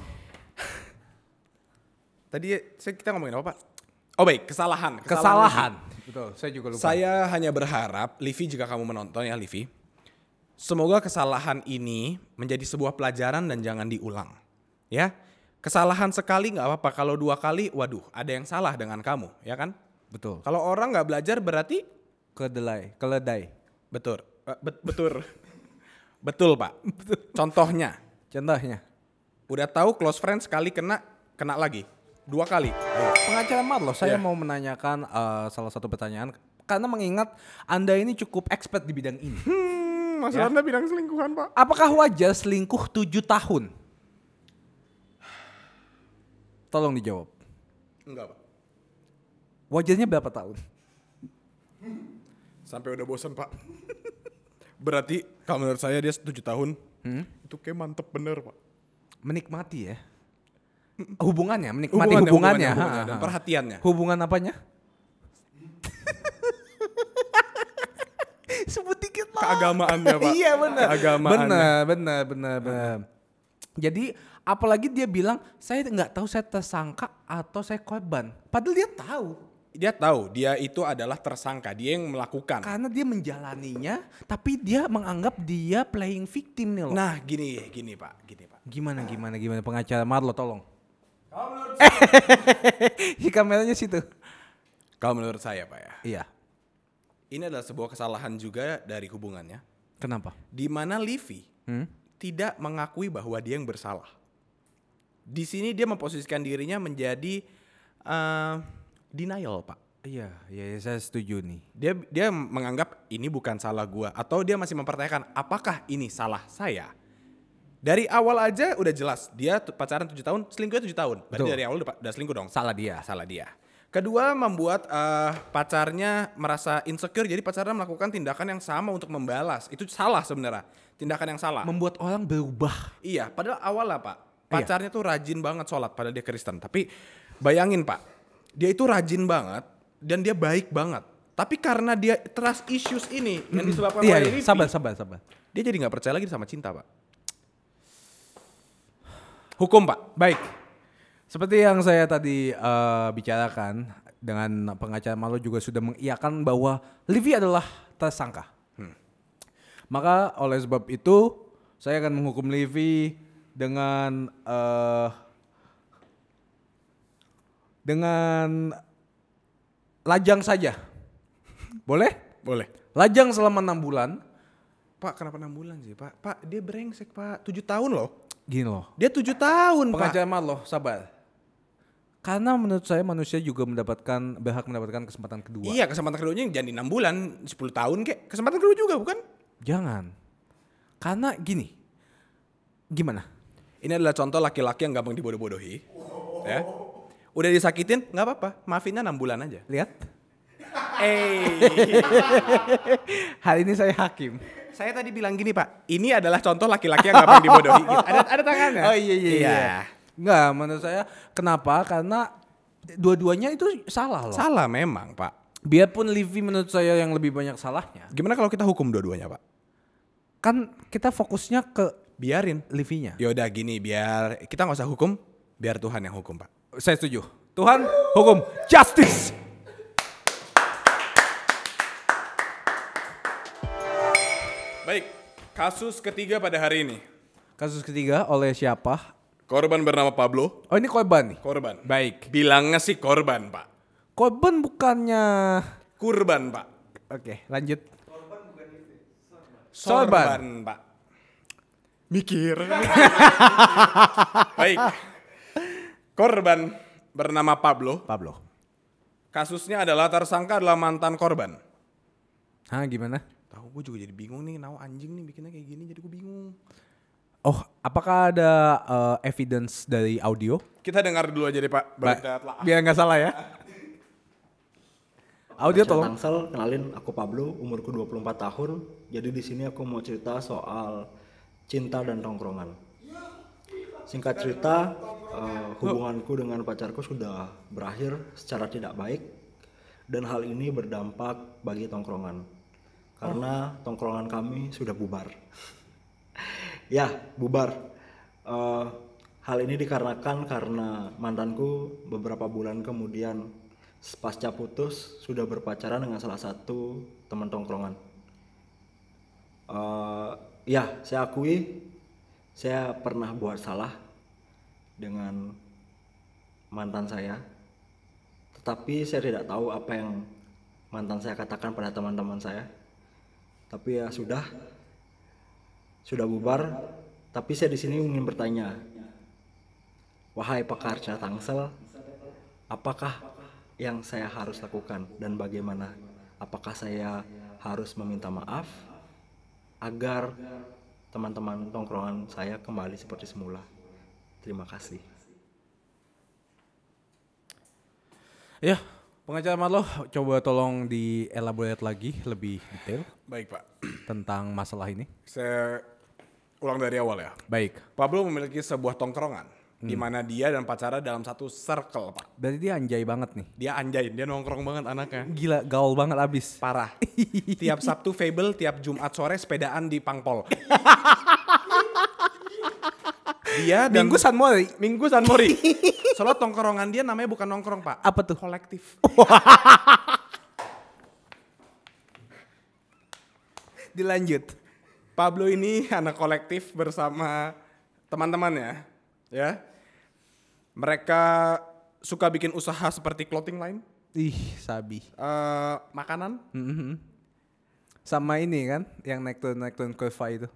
S3: Tadi saya- kita ngomongin apa, Pak? Oh baik, kesalahan.
S2: Kesalahan. Betul, saya juga lupa.
S3: Saya hanya berharap, Livi jika kamu menonton ya, Livi. Semoga kesalahan ini menjadi sebuah pelajaran dan jangan diulang. Ya, kesalahan sekali nggak apa-apa. Kalau dua kali, waduh, ada yang salah dengan kamu, ya kan?
S2: Betul.
S3: Kalau orang nggak belajar berarti
S2: Kedelai, keledai.
S3: Betul. Eh, bet- betul. betul, Pak. Contohnya,
S2: Contohnya,
S3: udah tahu close friend sekali kena, kena lagi. Dua kali.
S2: pengacara Marlo, saya
S3: Iya.
S2: mau menanyakan eh, salah satu pertanyaan karena mengingat Anda ini cukup expert di bidang ini.
S3: Hmm, Mas Anda bilang selingkuhan, Pak.
S2: Apakah wajar selingkuh 7 tahun? Tolong dijawab.
S3: Enggak, Pak.
S2: Wajarnya berapa tahun?
S3: Sampai udah bosan, Pak. Berarti kalau menurut saya dia 7 tahun. Itu kayak mantep bener, Pak.
S2: Menikmati ya. Hubungannya, menikmati hubungannya.
S3: Hubungannya, hubungannya, hubungannya, dan
S2: ha, ha.
S3: perhatiannya.
S2: Hubungan apanya? Sebut dikit lah.
S3: Keagamaannya, Pak.
S2: iya benar.
S3: Keagamaannya.
S2: Benar, benar, benar, benar. Jadi apalagi dia bilang saya nggak tahu saya tersangka atau saya korban. Padahal dia tahu
S3: Dia tahu dia itu adalah tersangka, dia yang melakukan.
S2: karena dia menjalaninya, tapi dia menganggap dia playing victim nih loh.
S3: Nah, gini, gini, Pak. Gini, Pak.
S2: Gimana gimana gimana pengacara Marlo tolong. Ih, kameranya situ.
S3: Kalau menurut saya Pak ya,
S2: Iya.
S3: ini adalah sebuah kesalahan juga dari hubungannya.
S2: Kenapa?
S3: Di mana Livi
S2: Hmm?
S3: tidak mengakui bahwa dia yang bersalah. Di sini dia memposisikan dirinya menjadi eh, denial Pak.
S2: Iya, iya iya, saya setuju nih.
S3: Dia dia menganggap ini bukan salah gua atau dia masih mempertanyakan apakah ini salah saya. Dari awal aja udah jelas dia tu- pacaran 7 tahun, selingkuhnya 7 tahun. Berarti
S2: Betul.
S3: dari awal udah, pa- udah selingkuh dong.
S2: Salah dia.
S3: salah dia. Kedua, membuat eh, pacarnya merasa insecure, jadi pacarnya melakukan tindakan yang sama untuk membalas. Itu salah sebenarnya, tindakan yang salah.
S2: Membuat orang berubah.
S3: iya, padahal awal lah pak,
S2: Iya.
S3: pacarnya tuh rajin banget sholat, padahal dia Kristen. Tapi bayangin pak, dia itu rajin banget dan dia baik banget. Tapi karena dia trust issues ini yang disebabkan
S2: Iya, iya,
S3: oleh Livi,
S2: sabar sabar sabar.
S3: dia jadi nggak percaya lagi sama cinta pak. Hukum pak,
S2: Baik. Seperti yang saya tadi eh, bicarakan dengan pengacara Malo juga sudah mengiyakan bahwa Livi adalah tersangka. Maka oleh sebab itu saya akan menghukum Livi dengan eh, dengan lajang saja. Boleh?
S3: boleh.
S2: Lajang selama enam bulan.
S3: Pak kenapa 6 bulan sih pak? Pak dia brengsek pak, 7 tahun loh.
S2: Gini loh.
S3: Dia tujuh tahun
S2: Pengacara Malo, sabar. Karena menurut saya manusia juga mendapatkan berhak mendapatkan kesempatan
S3: pak.
S2: kedua.
S3: Iya kesempatan keduanya jadi enam bulan, 10 tahun kek. Kesempatan kedua juga bukan?
S2: Jangan. Karena gini. Gimana?
S3: Ini adalah contoh laki-laki yang gampang dibodoh-bodohi. Ya. Udah disakitin nggak apa-apa, maafinnya enam bulan aja.
S2: Lihat.
S3: Eh,
S2: Hari ini saya hakim.
S3: saya tadi bilang gini pak, ini adalah contoh laki-laki yang gampang dibodohi. Gitu. iya, Ada ada tangannya.
S2: Enggak, menurut saya kenapa? Karena dua-duanya itu salah loh.
S3: Salah memang pak.
S2: Biarpun Livi menurut saya yang lebih banyak salahnya.
S3: Gimana kalau kita hukum dua-duanya pak?
S2: Kan kita fokusnya ke
S3: Biarin.
S2: Livinya.
S3: Yaudah gini biar kita nggak usah hukum, biar Tuhan yang hukum pak.
S2: Saya setuju. Tuhan, hukum, justice.
S3: Baik, kasus ketiga pada hari ini.
S2: Kasus ketiga oleh siapa?
S3: Korban bernama Pablo.
S2: Oh ini korban nih.
S3: Korban.
S2: Baik.
S3: Bilangnya sih korban, Pak.
S2: Korban bukannya...
S3: Kurban, Pak.
S2: Oke, lanjut.
S3: Sorban, Pak. Mikir. Baik. Korban bernama Pablo.
S2: Pablo.
S3: Kasusnya adalah tersangka adalah mantan korban.
S2: Hah, gimana?
S3: Tahu gue juga jadi bingung nih, nau anjing nih bikinnya kayak gini jadi gue bingung.
S2: Oh, apakah ada uh, evidence dari audio?
S3: Kita dengar dulu aja deh, Pak. Berita telah.
S2: Biar nggak salah ya. Audio
S6: Saya
S2: tolong.
S6: Tangsel, kenalin aku Pablo, umurku 24 tahun. Jadi di sini aku mau cerita soal cinta dan tongkrongan. Singkat cerita, eh, hubunganku dengan pacarku sudah berakhir secara tidak baik dan hal ini berdampak bagi tongkrongan. Karena tongkrongan kami sudah bubar. ya, bubar. Eh, hal ini dikarenakan karena mantanku beberapa bulan kemudian pasca putus sudah berpacaran dengan salah satu teman tongkrongan. Eh, ya, saya akui saya pernah buat salah dengan mantan saya. Tetapi saya tidak tahu apa yang mantan saya katakan pada teman-teman saya. Tapi ya sudah, sudah bubar. Tapi saya di sini ingin bertanya, wahai pekerja Tangsel, apakah yang saya harus lakukan dan bagaimana? Apakah saya harus meminta maaf agar teman-teman tongkrongan saya kembali seperti semula? Terima kasih.
S2: Ya, pengacara Marlo coba tolong dielaborate lagi lebih detail
S3: Baik, Pak.
S2: tentang masalah ini.
S3: Saya ulang dari awal ya.
S2: Baik.
S3: Pablo memiliki sebuah tongkrongan di mana dia dan pacarnya dalam satu circle, Pak.
S2: Berarti dia anjay banget nih.
S3: Dia anjain, dia nongkrong banget anaknya.
S2: Gila, gaul banget abis.
S3: Parah. tiap Sabtu Fable, tiap Jumat sore sepedaan di Pangpol. dia dan
S2: Minggu San Mori.
S3: Minggu San Mori. Soalnya tongkrongan dia namanya bukan nongkrong, Pak.
S2: Apa tuh? Oh,
S3: Kolektif.
S2: Dilanjut.
S3: Pablo ini anak kolektif bersama teman-temannya, ya. Mereka suka bikin usaha seperti clothing line,
S2: Ih, sabi.
S3: eh, makanan,
S2: Mhm. Sama ini kan, yang naik turun naik turun kurva itu.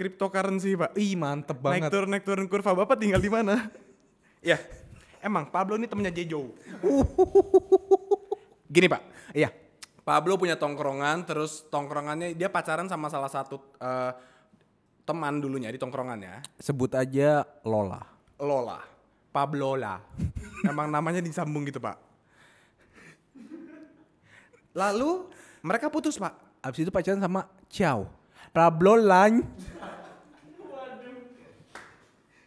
S3: cryptocurrency, Pak.
S2: Ih, mantep
S3: Naik
S2: banget.
S3: turun naik turun kurva Bapak tinggal di mana? ya. Emang Pablo ini temennya Jejo. Gini, Pak.
S2: Iya.
S3: Pablo punya tongkrongan, terus tongkrongannya dia pacaran sama salah satu eh, teman dulunya di tongkrongannya,
S2: Sebut aja Lola.
S3: Lola. Pablola. Emang namanya disambung gitu, Pak. Lalu mereka putus, Pak.
S2: Abis itu pacaran sama Ciao. Pablo Lan.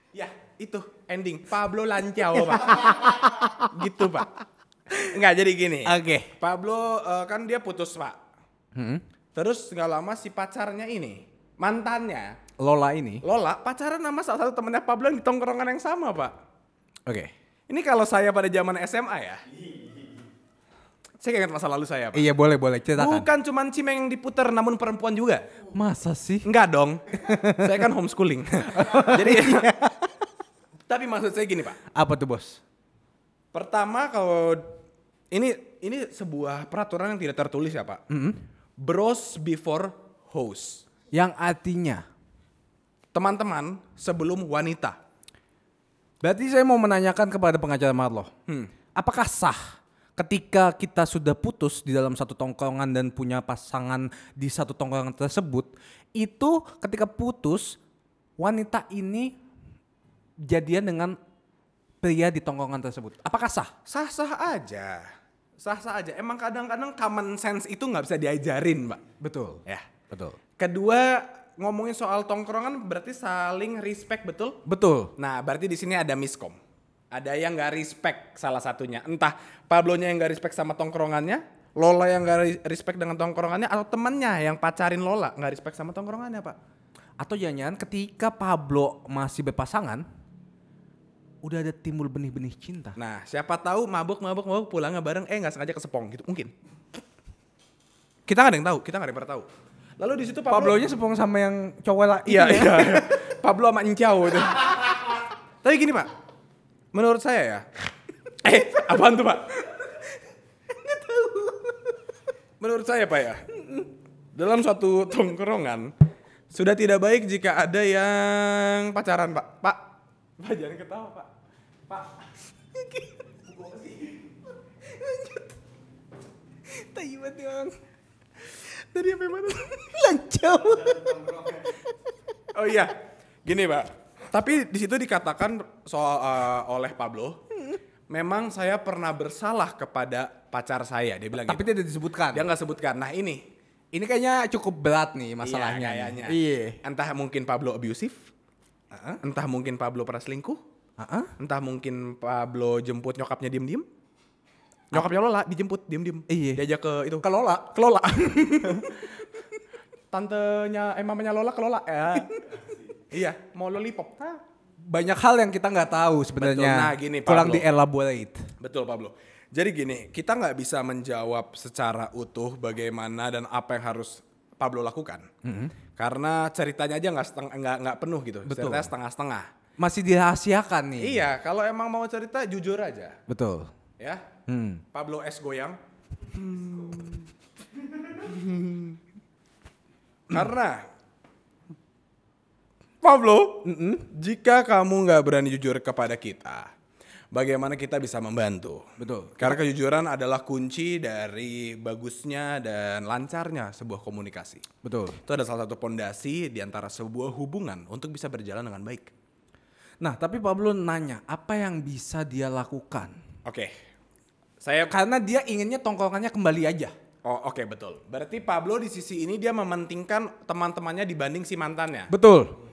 S3: Ya, itu ending. Pablo Lancao, Pak. gitu, Pak. Enggak, jadi gini.
S2: Oke.
S3: Pablo eh, kan dia putus, Pak.
S2: Hmm.
S3: Terus nggak lama si pacarnya ini, mantannya,
S2: Lola ini.
S3: Lola pacaran sama salah satu temennya Pablo yang di tongkrongan yang sama, Pak.
S2: Oke.
S3: Ini kalau saya pada zaman SMA ya. Saya ingat masa lalu saya, Pak.
S2: Iya boleh boleh ceritakan.
S3: Bukan cuman cimeng yang diputer namun perempuan juga.
S2: Masa sih?
S3: Enggak dong. saya kan homeschooling. Jadi Tapi maksud saya gini, Pak.
S2: Apa tuh bos?
S3: Pertama kalau ini ini sebuah peraturan yang tidak tertulis ya, Pak. Bros before host.
S2: Yang artinya.
S3: Teman-teman sebelum wanita.
S2: Berarti saya mau menanyakan kepada pengacara Marlo. Apakah sah ketika kita sudah putus di dalam satu tongkrongan dan punya pasangan di satu tongkrongan tersebut, itu ketika putus wanita ini jadian dengan pria di tongkrongan tersebut. Apakah sah?
S3: Sah-sah aja. Sah-sah aja. Emang kadang-kadang common sense itu nggak bisa diajarin, Pak.
S2: Betul.
S3: Ya.
S2: Betul.
S3: Kedua, ngomongin soal tongkrongan berarti saling respect betul?
S2: Betul.
S3: Nah, berarti di sini ada miskom. Ada yang nggak respect salah satunya. Entah Pablonya yang nggak respect sama tongkrongannya, Lola yang nggak ri- respect dengan tongkrongannya, atau temennya yang pacarin Lola nggak respect sama tongkrongannya, Pak.
S2: Atau jangan-jangan ketika Pablo masih berpasangan udah ada timbul benih-benih cinta.
S3: Nah, siapa tahu mabuk-mabuk-mabuk pulangnya bareng, eh nggak sengaja kesepong gitu. Mungkin. Kita nggak ada yang tahu, kita nggak ada yang pernah tahu. Lalu di situ Pablo,
S2: Pablonya sepong sama yang cowok lah. ya.
S3: Iya, iya. iya. Pablo sama Encau itu. Tapi gini, Pak. Menurut saya ya. Eh, apaan tuh, Pak? Menurut saya, Pak ya. Dalam suatu tongkrongan sudah tidak baik jika ada yang pacaran, Pak. Pak. Pak jangan ketawa, Pak. Pak. Lanjut. Tai banget nih orang. Tadi apa yang mana? Lancau. Oh iya, gini pak. Tapi di situ dikatakan soal eh, oleh Pablo, memang saya pernah bersalah kepada pacar saya. Dia bilang
S2: Tapi
S3: gitu.
S2: tidak disebutkan.
S3: dia nggak sebutkan. Nah ini
S2: Ini kayaknya cukup berat nih masalahnya.
S3: Iya,
S2: nih.
S3: kayaknya.
S2: Iya.
S3: Entah mungkin Pablo abusive, entah mungkin Pablo pernah selingkuh,
S2: Heeh.
S3: entah mungkin Pablo jemput nyokapnya diem-diem. Nyokapnya Lola dijemput diem-diem.
S2: Iya.
S3: Diajak ke itu. Ke Lola. Ke Lola. Tantenya, eh mamanya Lola ke Lola. Ya. iya, mau lollipop. Hah?
S2: Banyak hal yang kita nggak tahu sebenarnya.
S3: Betul. Nah, gini,
S2: Kurang
S3: Pablo.
S2: dielaborate.
S3: Betul Pablo. Jadi gini, kita nggak bisa menjawab secara utuh bagaimana dan apa yang harus Pablo lakukan. Karena ceritanya aja nggak seteng- nggak nggak penuh gitu.
S2: Betul.
S3: Ceritanya setengah-setengah.
S2: Masih dirahasiakan nih.
S3: Iya, kalau emang mau cerita jujur aja,
S2: Betul.
S3: ya.
S2: Hmm.
S3: Pablo S goyang. Karena Pablo, jika kamu nggak berani jujur kepada kita, bagaimana kita bisa membantu?
S2: Betul.
S3: Karena kejujuran adalah kunci dari bagusnya dan lancarnya sebuah komunikasi.
S2: Betul.
S3: Itu ada salah satu pondasi di antara sebuah hubungan untuk bisa berjalan dengan baik.
S2: Nah, tapi Pablo nanya, apa yang bisa dia lakukan?
S3: Oke. Saya
S2: Karena dia inginnya tongkrongannya kembali aja.
S3: Oh, oke betul. Berarti Pablo di sisi ini dia mementingkan teman-temannya dibanding si mantannya.
S2: Betul.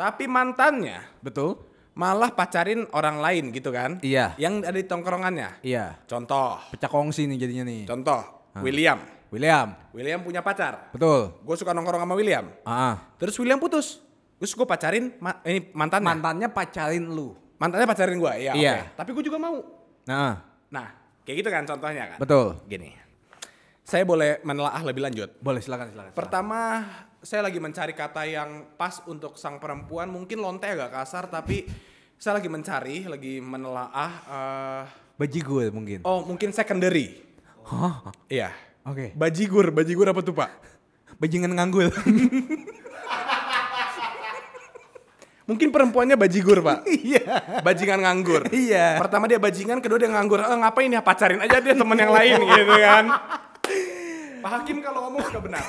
S3: Tapi mantannya
S2: Betul.
S3: malah pacarin orang lain gitu kan?
S2: Iya.
S3: Yang ada di tongkrongannya.
S2: Iya.
S3: Contoh,
S2: Pecah kongsi nih jadinya nih.
S3: contoh William.
S2: William.
S3: William punya pacar.
S2: Betul.
S3: Gue suka nongkrong sama William.
S2: Ah.
S3: Terus William putus. Terus gue pacarin ma- ini mantannya.
S2: Mantannya pacarin lu.
S3: mantannya pacarin gue, iya.
S2: Iya.
S3: oke. Tapi gue juga mau.
S2: Nah,
S3: Nah, kayak gitu kan contohnya kan?
S2: betul.
S3: Gini. Saya boleh menelaah lebih lanjut.
S2: Boleh silakan silakan.
S3: Pertama, saya lagi mencari kata yang pas untuk sang perempuan. Mungkin lonte agak kasar, tapi saya lagi mencari, lagi menelaah. eh,
S2: Bajigur mungkin.
S3: oh mungkin secondary.
S2: Hah?
S3: Iya.
S2: Oke.
S3: Bajigur, bajigur apa tuh pak?
S2: Bajingan nganggul.
S3: Mungkin perempuannya bajigur pak. Iya. Bajingan nganggur.
S2: Iya.
S3: Pertama dia bajingan, kedua dia nganggur. Eh, ngapain ya pacarin aja dia teman yang lain gitu kan. Pak Hakim kalau ngomong suka benar.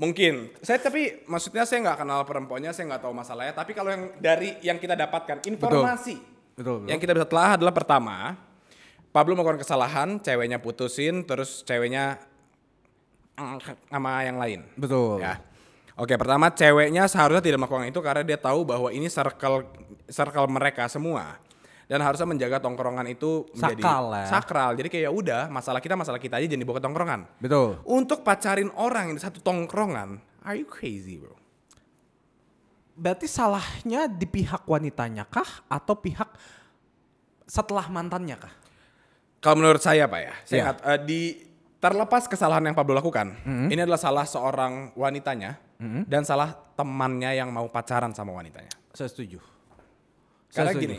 S3: Mungkin. Saya tapi maksudnya saya nggak kenal perempuannya, saya nggak tahu masalahnya. Tapi kalau yang dari yang kita dapatkan informasi
S2: Betul, betul.
S3: yang kita bisa telah adalah pertama Pablo melakukan kesalahan, ceweknya putusin, terus ceweknya sama yang lain.
S2: Betul.
S3: Ya. Oke, pertama ceweknya seharusnya tidak melakukan itu karena dia tahu bahwa ini circle circle mereka semua dan harusnya menjaga tongkrongan itu menjadi
S2: Sakral lah.
S3: sakral. Jadi kayak ya udah, masalah kita masalah kita aja jangan dibawa ke tongkrongan.
S2: Betul.
S3: Untuk pacarin orang yang di satu tongkrongan, are you crazy, bro?
S2: Berarti salahnya di pihak wanitanya kah atau pihak setelah mantannya kah?
S3: Kalau menurut saya, Pak ya, saya
S2: Iya.
S3: nggak- eh, di terlepas kesalahan yang Pablo lakukan,
S2: Mm-hmm.
S3: ini adalah salah seorang wanitanya dan salah temannya yang mau pacaran sama wanitanya.
S2: Saya setuju. Saya
S3: Karena
S2: setuju.
S3: gini,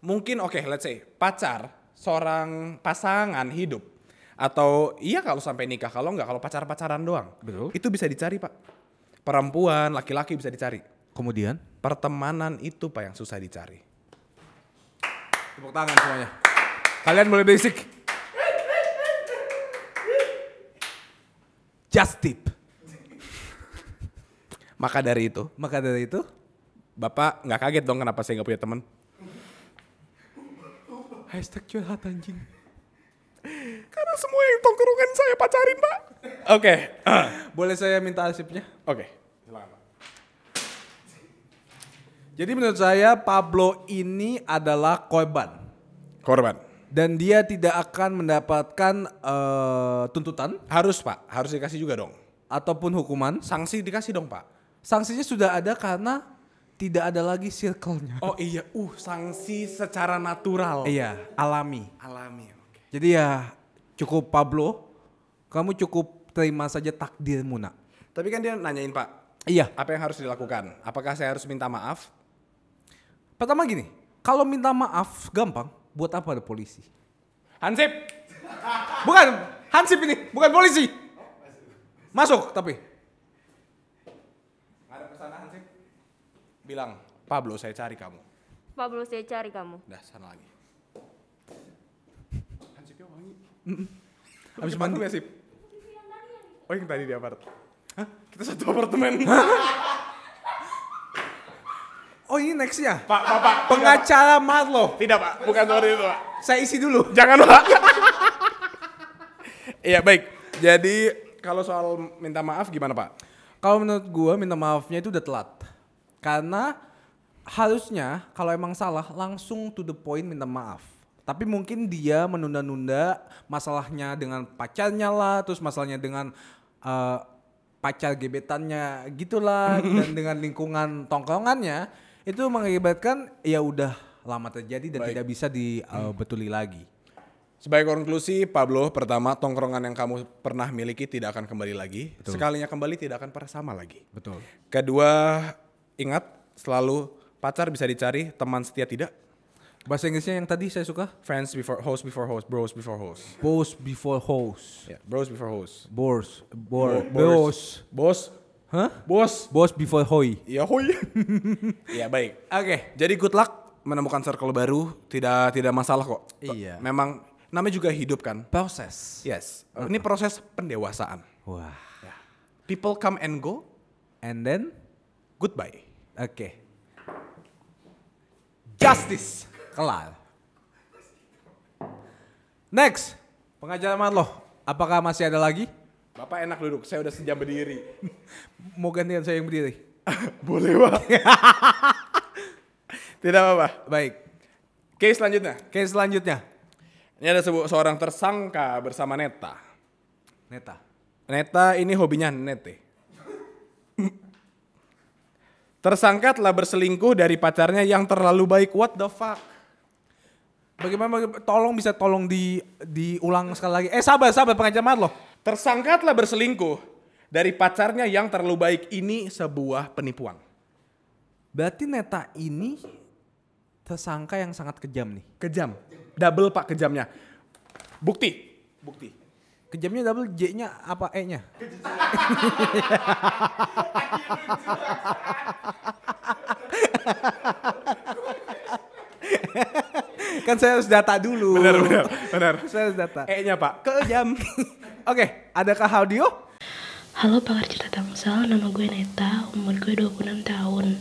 S3: mungkin oke let's say pacar seorang pasangan hidup atau iya kalau sampai nikah kalau nggak kalau pacar-pacaran doang.
S2: Betul.
S3: Itu bisa dicari pak. Perempuan, laki-laki bisa dicari.
S2: Kemudian?
S3: Pertemanan itu pak yang susah dicari. Tepuk tangan semuanya.
S2: Kalian boleh basic. Just tip.
S3: Maka dari itu,
S2: Maka dari itu,
S3: bapak nggak kaget dong kenapa saya nggak punya teman.
S2: hashtag curhat anjing.
S3: Karena Kan semua yang tongkrongan saya pacarin pak. Oke,
S2: Boleh saya minta arsipnya?
S3: oke.
S2: Jadi menurut saya Pablo ini adalah korban.
S3: Korban.
S2: Dan dia tidak akan mendapatkan eh, tuntutan
S3: Harus pak, harus dikasih juga dong.
S2: ataupun hukuman.
S3: Sanksi dikasih dong pak.
S2: Sanksinya sudah ada karena tidak ada lagi circle-nya.
S3: Oh iya, uh sanksi secara natural.
S2: Iya, alami.
S3: Alami. oke.
S2: Jadi ya cukup Pablo, kamu cukup terima saja takdirmu nak.
S3: Tapi kan dia nanyain pak,
S2: Iya.
S3: apa yang harus dilakukan? Apakah saya harus minta maaf?
S2: Pertama gini, kalau minta maaf gampang, buat apa ada polisi?
S3: Hansip,
S2: Bukan, Hansip ini, bukan polisi. Masuk tapi.
S3: ada kesana Hansip. Bilang, Pablo saya cari kamu.
S1: Pablo saya cari kamu.
S3: Dah sana lagi. Hansipnya wangi.
S2: Habis
S3: Habis
S2: mandi.
S3: mandi gak sip? Oh yang tadi di apartemen. Hah? Kita satu apartemen.
S2: Oh ini nextnya.
S3: pak, pak, pak.
S2: Pengacara Marlo.
S3: Tidak pak, bukan seperti itu pak.
S2: Saya isi dulu.
S3: Jangan pak. Iya baik. Jadi kalau soal minta maaf gimana pak?
S2: Kalau menurut gua minta maafnya itu udah telat. Karena harusnya kalau emang salah langsung to the point minta maaf. Tapi mungkin dia menunda-nunda masalahnya dengan pacarnya lah, terus masalahnya dengan eh, pacar gebetannya gitulah dan dengan lingkungan tongkrongannya itu mengakibatkan ya udah lama terjadi dan tidak bisa dibetuli lagi.
S3: Sebagai konklusi, Pablo, pertama tongkrongan yang kamu pernah miliki tidak akan kembali lagi. Sekalinya kembali tidak akan pernah sama lagi.
S2: Betul.
S3: Kedua, ingat selalu pacar bisa dicari, teman setia tidak.
S2: Bahasa Inggrisnya yang tadi saya suka,
S3: Friends before host before host, bros before host.
S2: boss before host.
S3: Ya, bros before host.
S2: Bors, bor,
S3: Bo-
S2: bos.
S3: Bos.
S2: Hah?
S3: Bos.
S2: Bos before hoy.
S3: Ya hoi. ya baik.
S2: Oke.
S3: Jadi good luck menemukan circle baru, tidak tidak masalah kok.
S2: Iya.
S3: Memang namanya juga hidup kan.
S2: Proses.
S3: Yes. Ini proses pendewasaan.
S2: Wah.
S3: People come and go.
S2: And then,
S3: Goodbye.
S2: oke. Justice. Kelar. Next. Pengacara Marlo. Apakah masih ada lagi?
S3: Bapak enak duduk, saya udah sejam berdiri.
S2: Mau gantian saya yang berdiri?
S3: Boleh, Pak. Tidak apa-apa.
S2: Baik.
S3: Case selanjutnya.
S2: Oke selanjutnya.
S3: Ini ada sebu- seorang tersangka bersama Neta.
S2: Neta.
S3: Neta ini hobinya ya? nete. Tersangka telah berselingkuh dari pacarnya yang terlalu baik. What the fuck?
S2: Bagaimana, baga- tolong bisa tolong di diulang sekali lagi. Eh sabar sabar pengacara Marlo.
S3: Tersangka telah berselingkuh dari pacarnya yang terlalu baik. Ini sebuah penipuan.
S2: Berarti Neta ini tersangka yang sangat kejam nih.
S3: Kejam. Double pak kejamnya. Bukti. Bukti.
S2: Kejamnya double J-nya apa E-nya? kan saya harus data dulu.
S3: Benar, benar, Eh, benar.
S2: Saya harus data.
S3: E-nya pak. Kejam.
S2: Oke, adakah audio?
S7: Halo pakar cerita Tangsel, nama gue Neta, umur gue 26 tahun.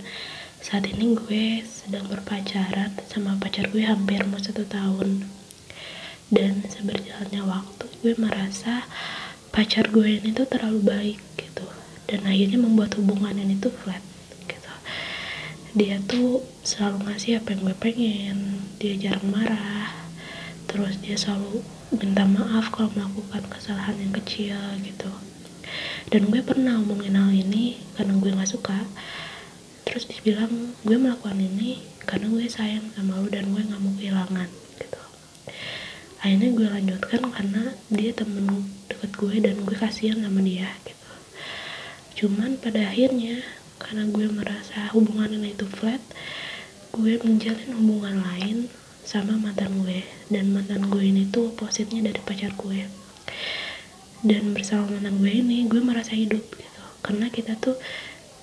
S7: Saat ini gue sedang berpacaran sama pacar gue hampir mau satu tahun. Dan seberjalannya waktu gue merasa pacar gue ini tuh terlalu baik gitu. Dan akhirnya membuat hubungan ini tuh flat gitu. Dia tuh selalu ngasih apa yang gue pengen, dia jarang marah. Terus dia selalu minta maaf kalau melakukan kesalahan yang kecil gitu dan gue pernah omongin hal ini karena gue nggak suka terus dibilang gue melakukan ini karena gue sayang sama lu dan gue nggak mau kehilangan gitu akhirnya gue lanjutkan karena dia temen deket gue dan gue kasihan sama dia gitu cuman pada akhirnya karena gue merasa hubungan ini itu flat gue menjalin hubungan lain sama mantan gue dan mantan gue ini tuh opositnya dari pacar gue dan bersama mantan gue ini gue merasa hidup gitu karena kita tuh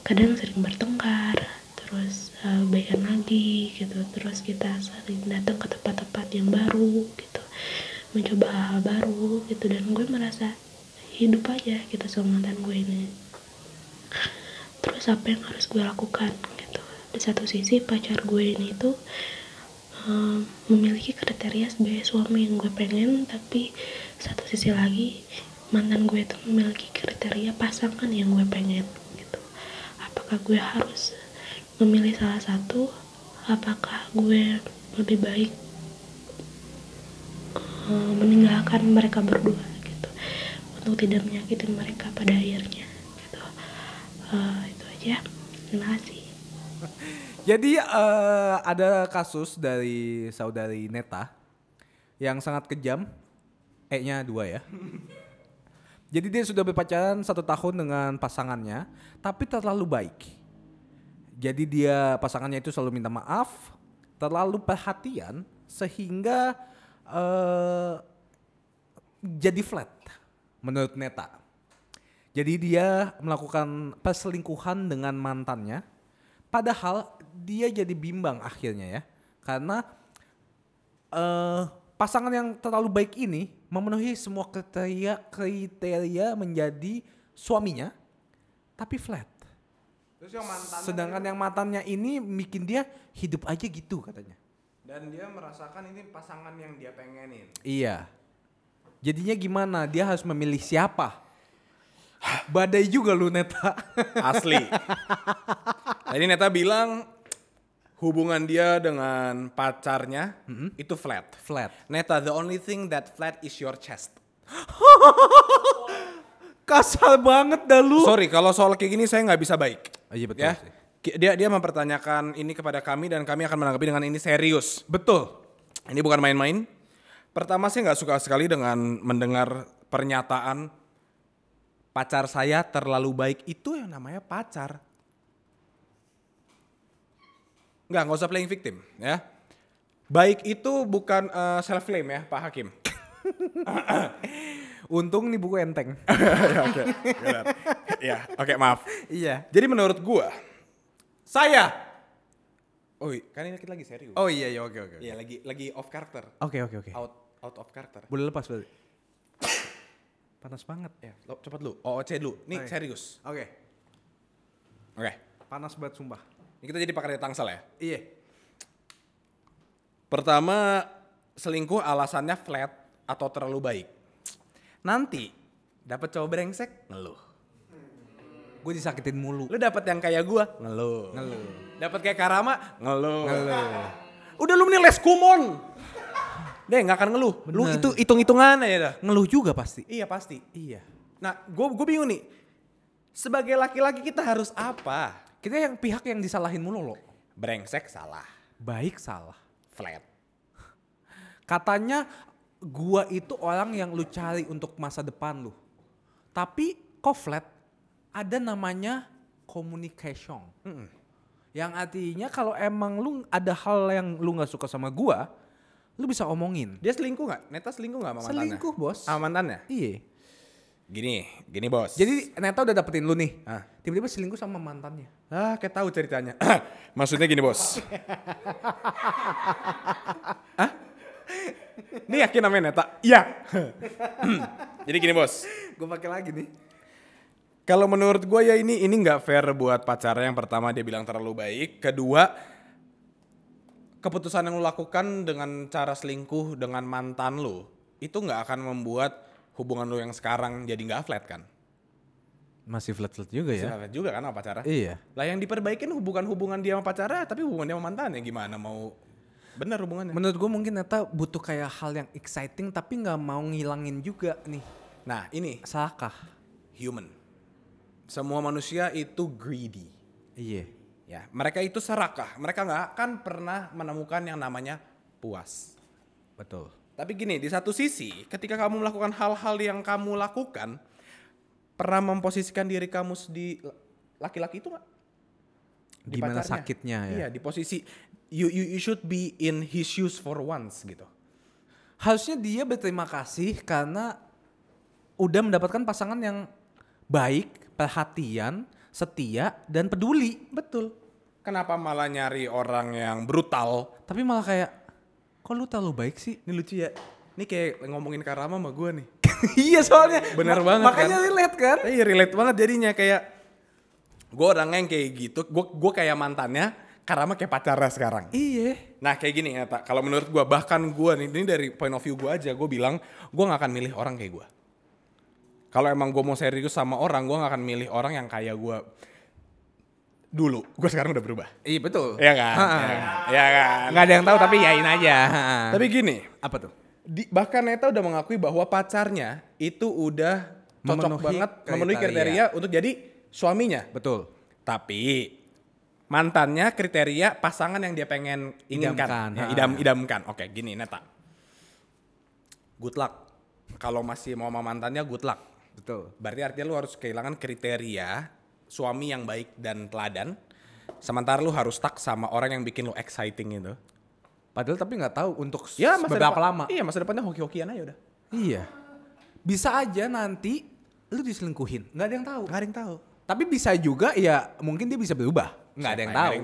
S7: kadang sering bertengkar terus eh, baikan lagi gitu terus kita sering datang ke tempat-tempat yang baru gitu mencoba hal baru gitu dan gue merasa hidup aja gitu sama mantan gue ini terus apa yang harus gue lakukan gitu di satu sisi pacar gue ini tuh um, memiliki kriteria sebagai suami yang gue pengen tapi satu sisi lagi mantan gue itu memiliki kriteria pasangan yang gue pengen gitu apakah gue harus memilih salah satu apakah gue lebih baik eh, meninggalkan mereka berdua gitu untuk tidak menyakiti mereka pada akhirnya gitu Eh, itu aja terima kasih
S2: Jadi eh, ada kasus dari saudari Neta yang sangat kejam. E-nya dua ya. Jadi dia sudah berpacaran satu tahun dengan pasangannya, tapi terlalu baik. Jadi dia pasangannya itu selalu minta maaf, terlalu perhatian, sehingga eh, jadi flat menurut Neta. Jadi dia melakukan perselingkuhan dengan mantannya. Padahal dia jadi bimbang akhirnya ya. Karena eh pasangan yang terlalu baik ini memenuhi semua kriteria kriteria menjadi suaminya tapi flat.
S3: Terus yang mantan.
S2: Sedangkan yang mantannya ini bikin dia hidup aja gitu katanya.
S3: Dan dia merasakan ini pasangan yang dia pengenin.
S2: Iya. Jadinya gimana? Dia harus memilih siapa? Badai juga lu neta.
S3: Asli. Tadi Neta bilang hubungan dia dengan pacarnya itu Mm-hmm. flat.
S2: Flat.
S3: Neta, the only thing that flat is your chest.
S2: Kasar banget dah lu.
S3: Sorry kalau soal kayak gini saya nggak bisa baik.
S2: Oh, iya, betul
S3: Ya.
S2: sih.
S3: Ki- Dia dia mempertanyakan ini kepada kami dan kami akan menanggapi dengan ini serius. Betul. Ini bukan main-main. Pertama saya nggak suka sekali dengan mendengar pernyataan pacar saya terlalu baik itu yang namanya pacar. Nggak, nggak usah playing victim ya. Baik itu bukan self claim ya Pak Hakim.
S2: Untung nih buku enteng.
S3: Ya, oke. Benar. Ya, oke maaf.
S2: iya.
S3: Jadi menurut gua, saya, oh kan ini kita lagi serius.
S2: Oh iya iya oke oke.
S3: Iya lagi lagi off character,
S2: Oke oke oke.
S3: out out of character.
S2: Boleh lepas berarti. Panas banget.
S3: Ya, lo, cepat lu, OOC dulu.
S2: Oke.
S3: Nih serius.
S2: Oke.
S3: Oke,
S2: Panas banget sumpah.
S3: ini kita jadi pakar tangsel ya.
S2: Iya.
S3: Pertama selingkuh alasannya flat atau terlalu baik. Nanti dapat cowok brengsek ngeluh.
S2: Gue disakitin mulu.
S3: Lu dapat yang kayak gua ngeluh.
S2: Ngeluh.
S3: Dapat kayak Karama ngeluh.
S2: Ngeluh.
S3: Udah lu mending les kumon. Deh nggak akan ngeluh. Lu
S2: Bener.
S3: itu hitung-hitungan aja dah.
S2: Ngeluh juga pasti.
S3: Iya pasti.
S2: Iya.
S3: Nah, gue gue bingung nih. Sebagai laki-laki kita harus apa?
S2: Kita yang pihak yang disalahin mulu loh.
S3: Brengsek salah,
S2: Baik salah.
S3: flat.
S2: Katanya gua itu orang yang lu cari untuk masa depan lu. Tapi kok flat ada namanya communication. Yang artinya kalau emang lu ada hal yang lu nggak suka sama gua, lu bisa omongin.
S3: Dia selingkuh nggak? Neta selingkuh nggak sama mantannya?
S2: Selingkuh, Bos.
S3: Sama mantannya?
S2: Iya.
S3: Gini, gini bos.
S2: Jadi Neta udah dapetin lu nih.
S3: Ah.
S2: Tiba-tiba selingkuh sama mantannya.
S3: ah kayak tahu ceritanya. Maksudnya gini bos. Hah? Ini yakin namanya Neta? Iya. Jadi gini bos.
S2: Gue pakai lagi nih.
S3: Kalau menurut gue ya ini ini nggak fair buat pacarnya yang pertama dia bilang terlalu baik, kedua keputusan yang lu lakukan dengan cara selingkuh dengan mantan lu itu nggak akan membuat hubungan lu yang sekarang jadi nggak flat kan?
S2: Masih flat-flat juga ya.
S3: Nggak Flat juga kan sama pacarnya?
S2: Iya.
S3: Lah yang diperbaikin bukan hubungan dia sama pacarnya, tapi hubungan dia sama mantannya gimana mau bener hubungannya?
S2: Menurut gue mungkin Neta butuh kayak hal yang exciting tapi nggak mau ngilangin juga nih.
S3: nah ini
S2: Salahkah?
S3: human. Semua manusia itu greedy.
S2: Iya.
S3: Ya, mereka itu serakah. Mereka nggak akan pernah menemukan yang namanya puas.
S2: Betul.
S3: Tapi gini, di satu sisi, ketika kamu melakukan hal-hal yang kamu lakukan, pernah memposisikan diri kamu di laki-laki itu nggak? Di
S2: Gimana
S3: pacarnya.
S2: sakitnya ya?
S3: Iya, di posisi you, you you should be in his shoes for once gitu.
S2: Harusnya dia berterima kasih karena udah mendapatkan pasangan yang baik, perhatian, setia dan peduli.
S3: Betul. Kenapa malah nyari orang yang brutal?
S2: Tapi malah kayak kok lu terlalu baik sih?
S3: Ini lucu ya. Ini kayak ngomongin Karama sama gue nih.
S2: iya soalnya
S3: Bener
S2: Ma-
S3: banget
S2: Makanya
S3: kan?
S2: relate kan?
S3: Iya relate banget jadinya kayak gue orangnya yang kayak gitu. Gue gue kayak mantannya, Karama kayak pacarnya sekarang.
S2: Iya.
S3: Nah kayak gini ya tak. Kalau menurut gue bahkan gue nih ini dari point of view gue aja gue bilang gue nggak akan milih orang kayak gue. Kalau emang gue mau serius sama orang gue nggak akan milih orang yang kayak gue dulu. Gue sekarang udah berubah.
S2: Iya betul.
S3: Iya kan?
S2: Ha-ha.
S3: Iya kan? Iya kan?
S2: Nggak ada yang tahu tapi yain aja. Ha-ha.
S3: Tapi gini,
S2: apa tuh?
S3: di, bahkan Neta udah mengakui bahwa pacarnya itu udah cocok
S2: Memenuhi
S3: banget memenuhi
S2: kriteria.
S3: kriteria untuk jadi suaminya.
S2: Betul.
S3: Tapi mantannya kriteria pasangan yang dia pengen inginkan,
S2: Idamkan,
S3: Ya,
S2: ha.
S3: idam idamkan. Oke, gini Neta. Good luck. Kalau masih mau sama mantannya good luck.
S2: Betul.
S3: Berarti artinya lu harus kehilangan kriteria suami yang baik dan teladan. Sementara lu harus stuck sama orang yang bikin lu exciting itu.
S2: Padahal tapi nggak tahu untuk s-
S3: Ya, masa
S2: beberapa
S3: depan-
S2: lama.
S3: Iya, masa depannya hoki-hokian aja udah.
S2: Iya. Bisa aja nanti lu diselingkuhin, nggak ada yang tahu.
S3: Gak ada yang tahu.
S2: Tapi bisa juga ya mungkin dia bisa berubah, nggak ada yang tahu.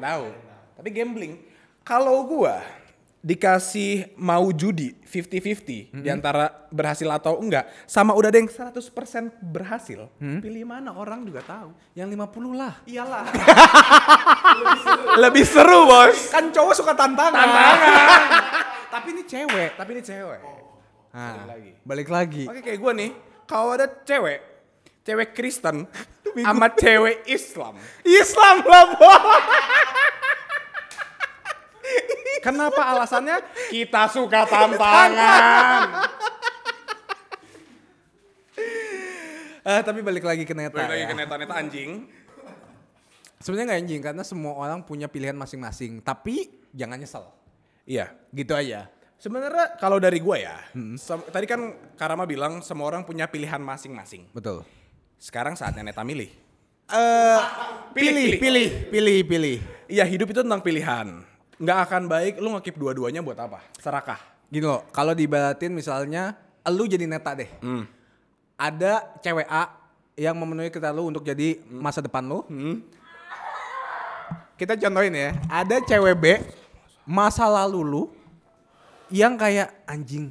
S3: Tapi gambling. Kalau gua dikasih mau judi 50-50 di antara berhasil atau enggak sama udah ada yang 100% berhasil, pilih mana orang juga tahu.
S2: Yang 50 lah.
S3: Iyalah. Lebih seru, Bos. Kan cowok suka tantangan.
S2: tapi ini cewek.
S3: Tapi ini cewek.
S2: Nah,
S3: Balik lagi.
S2: balik lagi.
S3: Oke kayak gua nih, kalau ada cewek, cewek Kristen sama cewek Islam.
S2: Islam lah, Bos.
S3: Kenapa alasannya? Kita suka tantangan.
S2: Eh, tapi balik lagi ke neta.
S3: Balik lagi
S2: ya.
S3: ke neta-neta anjing.
S2: Sebenarnya nggak anjing karena semua orang punya pilihan masing-masing. Tapi jangan nyesel.
S3: Iya.
S2: Gitu aja.
S3: Sebenarnya kalau dari gua ya, sem- tadi kan Karama bilang semua orang punya pilihan masing-masing.
S2: Betul.
S3: Sekarang saatnya neta milih. Eh,
S2: Pilih, pilih, pilih, pilih.
S3: Iya hidup itu tentang pilihan. Nggak akan baik lu ngekip dua-duanya buat apa? Serakah.
S2: Gini loh, kalau dibaratin misalnya lu jadi neta deh. Ada cewek A yang memenuhi kita lu untuk jadi masa depan lu. Kita contohin ya, ada cewek B masa lalu lu yang kayak anjing.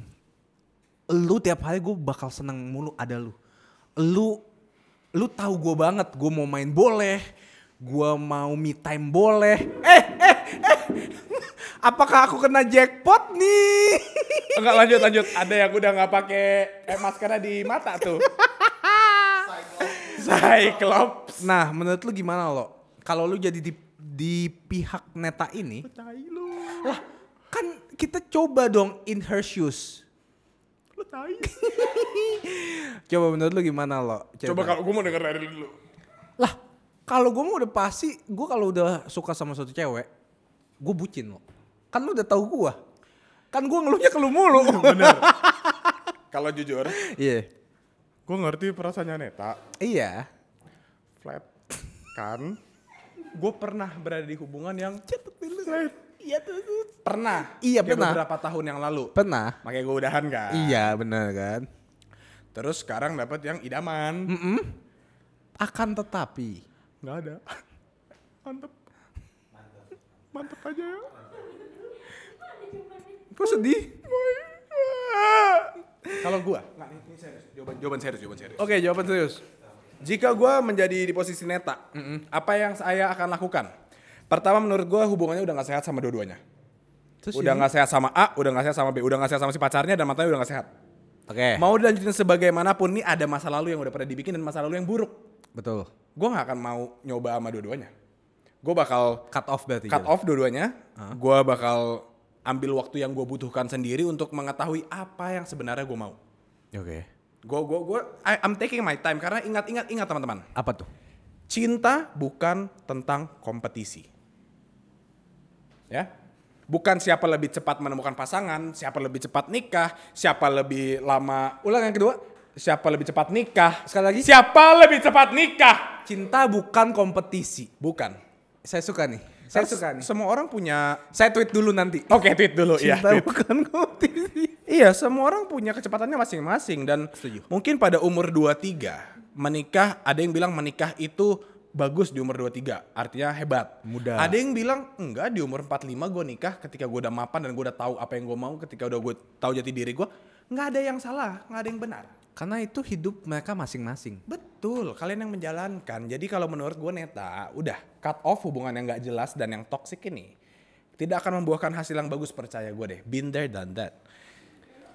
S2: Lu tiap hari gue bakal seneng mulu ada lu. Lu lu tahu gue banget, gue mau main boleh, gue mau me time boleh. Eh, eh, eh. Apakah aku kena jackpot nih?
S3: Enggak lanjut lanjut. Ada yang udah nggak pakai eh, maskernya di mata tuh. Cyclops.
S2: Nah, menurut lu gimana lo? Kalau lu jadi di, di pihak neta ini,
S3: Tai lu.
S2: lah kan kita coba dong in her shoes.
S3: Lu tai.
S2: Coba menurut lu gimana lo?
S3: Coba kalau gua mau denger dari lu dulu.
S2: lah kalau gue mau udah pasti, gue kalau udah suka sama suatu cewek, gue bucin lo. Kan lu udah tahu gue. Kan gue ngeluhnya ke lu mulu.
S3: Kalau jujur,
S2: Iya.
S3: gua ngerti perasaannya Neta.
S2: Iya.
S3: flat kan gue pernah berada di hubungan yang cepet dulu Iya tuh. Pernah.
S2: Iya,
S3: Kayak
S2: pernah.
S3: Beberapa tahun yang lalu.
S2: Pernah.
S3: Makanya gue udahan kan.
S2: Iya benar kan.
S3: Terus sekarang dapat yang idaman.
S2: Mm-mm. Akan tetapi
S3: Mm. Nggak ada. Mantep. Mantep aja ya.
S2: Kok sedih?
S3: Kalau gue. Nggak, ini, ini serius. Jawaban, jawaban serius, jawaban serius.
S2: Oke jawaban serius
S3: Jika gue menjadi di posisi neta, apa yang saya akan lakukan? Pertama menurut gue hubungannya udah gak sehat sama dua-duanya.
S2: Terus
S3: udah
S2: ini-
S3: nggak sehat sama A, udah nggak sehat sama B, udah nggak sehat sama si pacarnya dan matanya udah nggak sehat.
S2: Oke
S3: Mau dilanjutin sebagaimanapun nih ada masa lalu yang udah pada dibikin dan masa lalu yang buruk.
S2: Betul
S3: Gue nggak akan mau nyoba sama dua-duanya. Gue bakal
S2: Cut off berarti
S3: cut
S2: Jel.
S3: off dua-duanya. Gue bakal ambil waktu yang gue butuhkan sendiri untuk mengetahui apa yang sebenarnya gue mau.
S2: Oke
S3: Gue gue gue I- I'm taking my time karena ingat ingat ingat teman-teman.
S2: Apa tuh?
S3: Cinta bukan tentang kompetisi. Ya. Bukan siapa lebih cepat menemukan pasangan, siapa lebih cepat nikah, siapa lebih lama. Ulang yang kedua, siapa lebih cepat nikah?
S2: Sekali lagi.
S3: siapa lebih cepat nikah?
S2: Cinta bukan kompetisi
S3: Bukan.
S2: Saya suka nih Saya
S3: Harus-
S2: suka nih
S3: Semua orang punya
S2: Saya tweet dulu nanti
S3: Oke, tweet dulu ya.
S2: Cinta
S3: tweet.
S2: bukan kompetisi
S3: Iya, semua orang punya kecepatannya masing-masing dan mungkin pada umur 23 menikah ada yang bilang menikah itu bagus di umur 23, artinya hebat.
S2: Muda.
S3: Ada yang bilang enggak di umur 45 gue nikah ketika gue udah mapan dan gue udah tahu apa yang gue mau, ketika udah gue tahu jati diri gue, nggak ada yang salah, nggak ada yang benar.
S2: Karena itu hidup mereka masing-masing
S3: Betul, kalian yang menjalankan. Jadi kalau menurut gue neta, udah cut off hubungan yang nggak jelas dan yang toksik ini. Tidak akan membuahkan hasil yang bagus percaya gue deh. Been there done that.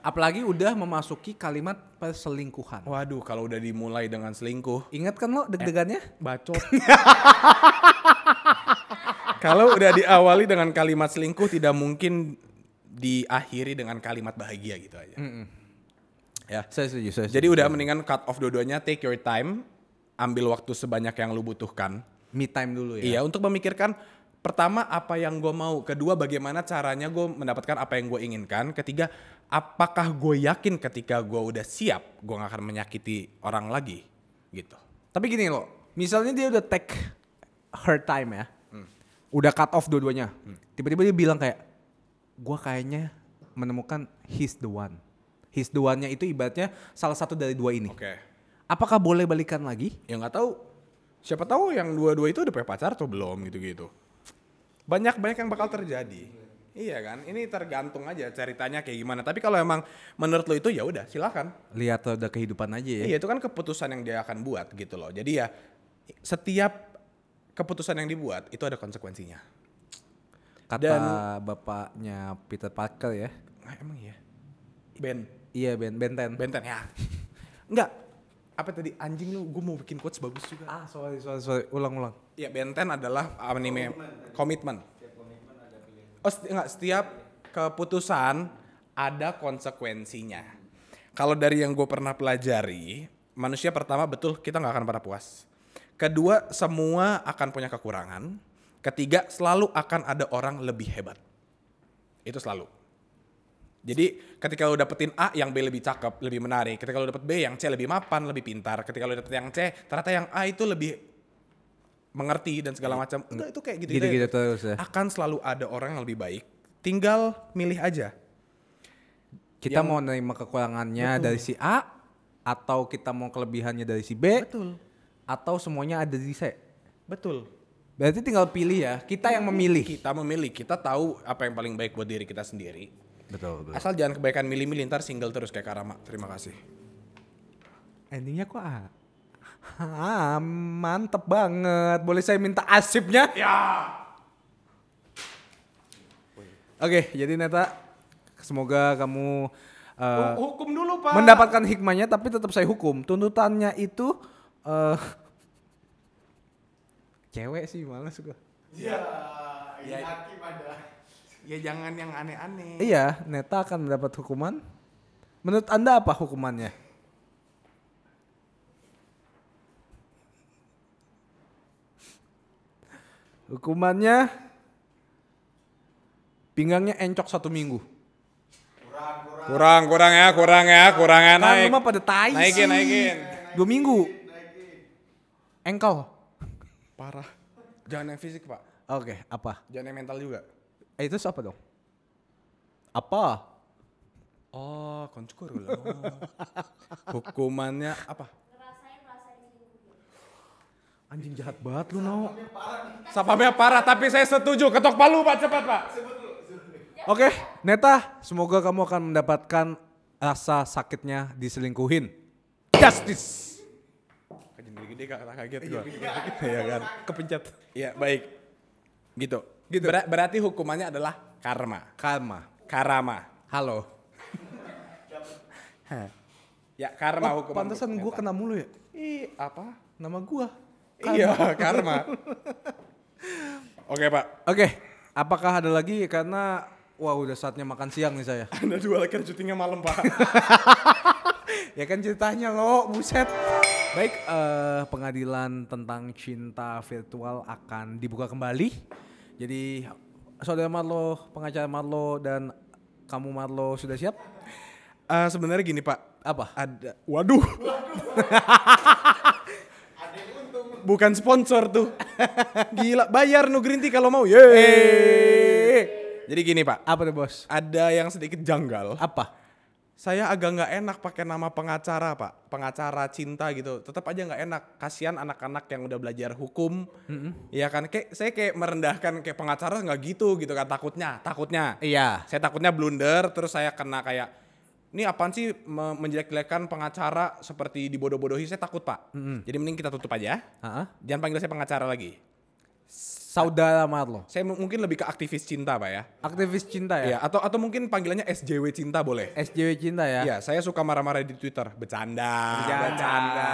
S2: Apalagi udah memasuki kalimat perselingkuhan
S3: Waduh, kalau udah dimulai dengan selingkuh,
S2: Ingat kan lo deg-degannya?
S3: bacot. kalau udah diawali dengan kalimat selingkuh, tidak mungkin diakhiri dengan kalimat bahagia gitu aja.
S2: Eh,
S3: Ya.
S2: Saya setuju, saya
S3: Jadi udah mendingan cut off dua-duanya, take your time, ambil waktu sebanyak yang lu butuhkan.
S2: me time dulu ya.
S3: Iya, untuk memikirkan pertama apa yang gue mau, kedua bagaimana caranya gue mendapatkan apa yang gue inginkan, ketiga apakah gue yakin ketika gue udah siap gue gak akan menyakiti orang lagi, gitu.
S2: Tapi gini loh, misalnya dia udah take her time ya. Udah cut off dua-duanya. Tiba-tiba dia bilang kayak gua kayaknya menemukan he's the one. He's the one-nya itu ibaratnya salah satu dari dua ini.
S3: Oke.
S2: Apakah boleh balikan lagi?
S3: Ya nggak tahu. Siapa tahu yang dua-dua itu udah punya pacar atau belum gitu-gitu. Banyak banyak yang bakal terjadi. Iya kan? Ini tergantung aja ceritanya kayak gimana. Tapi kalau emang menurut lo itu ya udah, silakan.
S2: Lihat roda kehidupan aja ya.
S3: Iya itu kan keputusan yang dia akan buat gitu loh. Jadi ya setiap keputusan yang dibuat itu ada konsekuensinya.
S2: Kata
S3: Dan-
S2: bapaknya Peter Parker ya.
S3: Nah, emang iya. Ben,
S2: Iya Ben Benten.
S3: Benten ya. Enggak. Apa tadi anjing lu? Gue mau bikin quotes bagus juga.
S2: Ah sorry sorry sorry ulang-ulang.
S3: Iya Benten adalah anime komitmen. Oh seti- enggak setiap keputusan ada konsekuensinya. Kalau dari yang gue pernah pelajari, manusia pertama betul kita nggak akan pernah puas. Kedua, semua akan punya kekurangan. Ketiga, selalu akan ada orang lebih hebat. Itu selalu. Jadi ketika lo dapetin A yang B lebih cakep, lebih menarik. Ketika lo dapet B yang C lebih mapan, lebih pintar. Ketika lo dapet yang C, ternyata yang A itu lebih mengerti dan segala macam. Enggak itu kayak gitu-gitu.
S2: Iya. Gitu-gitu
S3: aja.
S2: terus ya.
S3: Akan selalu ada orang yang lebih baik. Tinggal milih aja.
S2: Kita
S3: Yang-
S2: mau nerima kekurangannya dari si A atau kita mau kelebihannya dari si B?
S3: Betul.
S2: Atau semuanya ada di C?
S3: Betul.
S2: Berarti tinggal pilih ya, kita yang memilih.
S3: Kita memilih, kita tahu apa yang paling baik buat diri kita sendiri.
S2: Betul,
S3: Asal jangan kebaikan milih-milih ntar single terus kayak Karama. Terima kasih.
S2: Endingnya kok ah, ah, mantep banget. Boleh saya minta asipnya? Ya. Oke, jadi Neta, semoga kamu eh,
S3: Hukum dulu,
S2: mendapatkan hikmahnya, tapi tetap saya hukum. Tuntutannya itu eh cewek sih, males gue.
S3: Ya jangan yang aneh-aneh.
S2: Iya, Neta akan mendapat hukuman. Menurut Anda apa hukumannya? Hukumannya pinggangnya encok satu minggu.
S3: Kurang, kurang ya, kurang ya, kurang ya,
S2: Kan
S3: naik.
S2: lu mah pada tai sih.
S3: Naikin, naikin.
S2: Dua minggu. Engkel.
S3: Parah. Jangan yang fisik pak,
S2: Oke, apa?
S3: jangan yang mental juga.
S2: Eh, itu apa dong? Apa?
S3: Oh, konskur loh. Hukumannya apa?
S2: Anjing jahat banget lu, No.
S3: Sapamnya parah, tapi saya setuju. Ketok palu pak, cepat pak.
S2: Oke, Neta, semoga kamu akan mendapatkan rasa sakitnya diselingkuhin. Justice.
S3: Kajian gede-gede kata kaget gua. Iya kan. Kepencet. Iya, baik. Gitu. gitu. berarti hukumannya adalah karma.
S2: Karma.
S3: Karama.
S2: Halo.
S3: Ya, karma hukuman.
S2: Pantesan
S3: untuk
S2: gue
S3: Neta.
S2: kena mulu ya.
S3: Ih, apa?
S2: Nama gue.
S3: Iya, karma. Oke, Pak.
S2: Oke, apakah ada lagi? Karena wah udah saatnya makan siang nih saya.
S3: Anda dua lagi syutingnya malam, Pak.
S2: ya kan ceritanya lo, buset. Baik, eh, pengadilan tentang cinta virtual akan dibuka kembali. Jadi saudara Marlo, pengacara Marlo dan kamu Marlo sudah siap?
S3: Eh, sebenarnya gini, Pak.
S2: Apa?
S3: Ada waduh. Bukan sponsor tuh. Gila, bayar no green tea kalau mau. Yeay. Jadi gini, Pak.
S2: Apa tuh bos?
S3: Ada yang sedikit janggal.
S2: Apa?
S3: saya agak nggak enak pakai nama pengacara pak pengacara cinta gitu tetap aja nggak enak kasihan anak-anak yang udah belajar hukum Iya kan kayak saya kayak merendahkan kayak pengacara nggak gitu gitu kan takutnya takutnya
S2: Iya.
S3: saya takutnya blunder terus saya kena kayak ini apaan sih me- menjelek-jelekan pengacara seperti dibodoh-bodohi saya takut pak jadi mending kita tutup aja
S2: Heeh.
S3: jangan panggil saya pengacara lagi
S2: Saudara Marlo.
S3: saya mu- mungkin lebih ke aktivis cinta pak ya
S2: Aktivis cinta ya?
S3: Iya, atau atau mungkin panggilannya SJW cinta boleh
S2: SJW cinta ya?
S3: Iya, saya suka marah-marah di Twitter. Bercanda.
S2: Bercanda.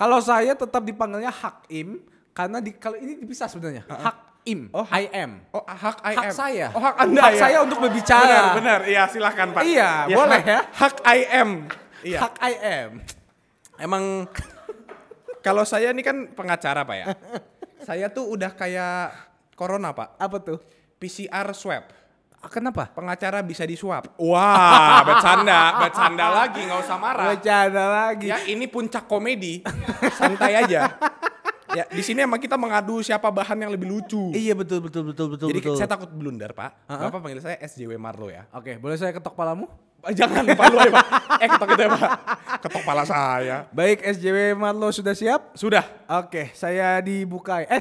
S2: Kalau saya tetap dipanggilnya Hakim karena di kalau ini dipisah sebenarnya. Hakim.
S3: Oh,
S2: I am.
S3: Oh, hak I
S2: Hak
S3: am.
S2: saya.
S3: Oh, hak Anda
S2: Hak
S3: ya?
S2: saya untuk berbicara.
S3: Benar, benar. Iya, silakan, Pak.
S2: Iya, boleh ya.
S3: Hak I am. Iya.
S2: Hak I am.
S3: Emang kalau saya ini kan pengacara, Pak ya. saya tuh udah kayak corona, Pak.
S2: Apa tuh?
S3: PCR swab.
S2: Ah, Kenapa?
S3: Pengacara bisa disuap. Wah, bercanda, bercanda lagi, nggak usah marah.
S2: Bercanda lagi.
S3: Ya, ini puncak komedi. Santai aja. Ya, di sini emang kita mengadu siapa bahan yang lebih lucu.
S2: Iya betul betul betul betul
S3: Jadi
S2: betul.
S3: saya takut blunder pak. Bapak panggil saya SJW Marlo ya.
S2: Oke, boleh saya ketok palamu?
S3: Ah, Jangan pak lu aja pak. Eh ketok itu ya pak. Ketok pala saya.
S2: Baik, SJW Marlo sudah siap?
S3: Sudah.
S2: Oke, saya dibuka. Eh,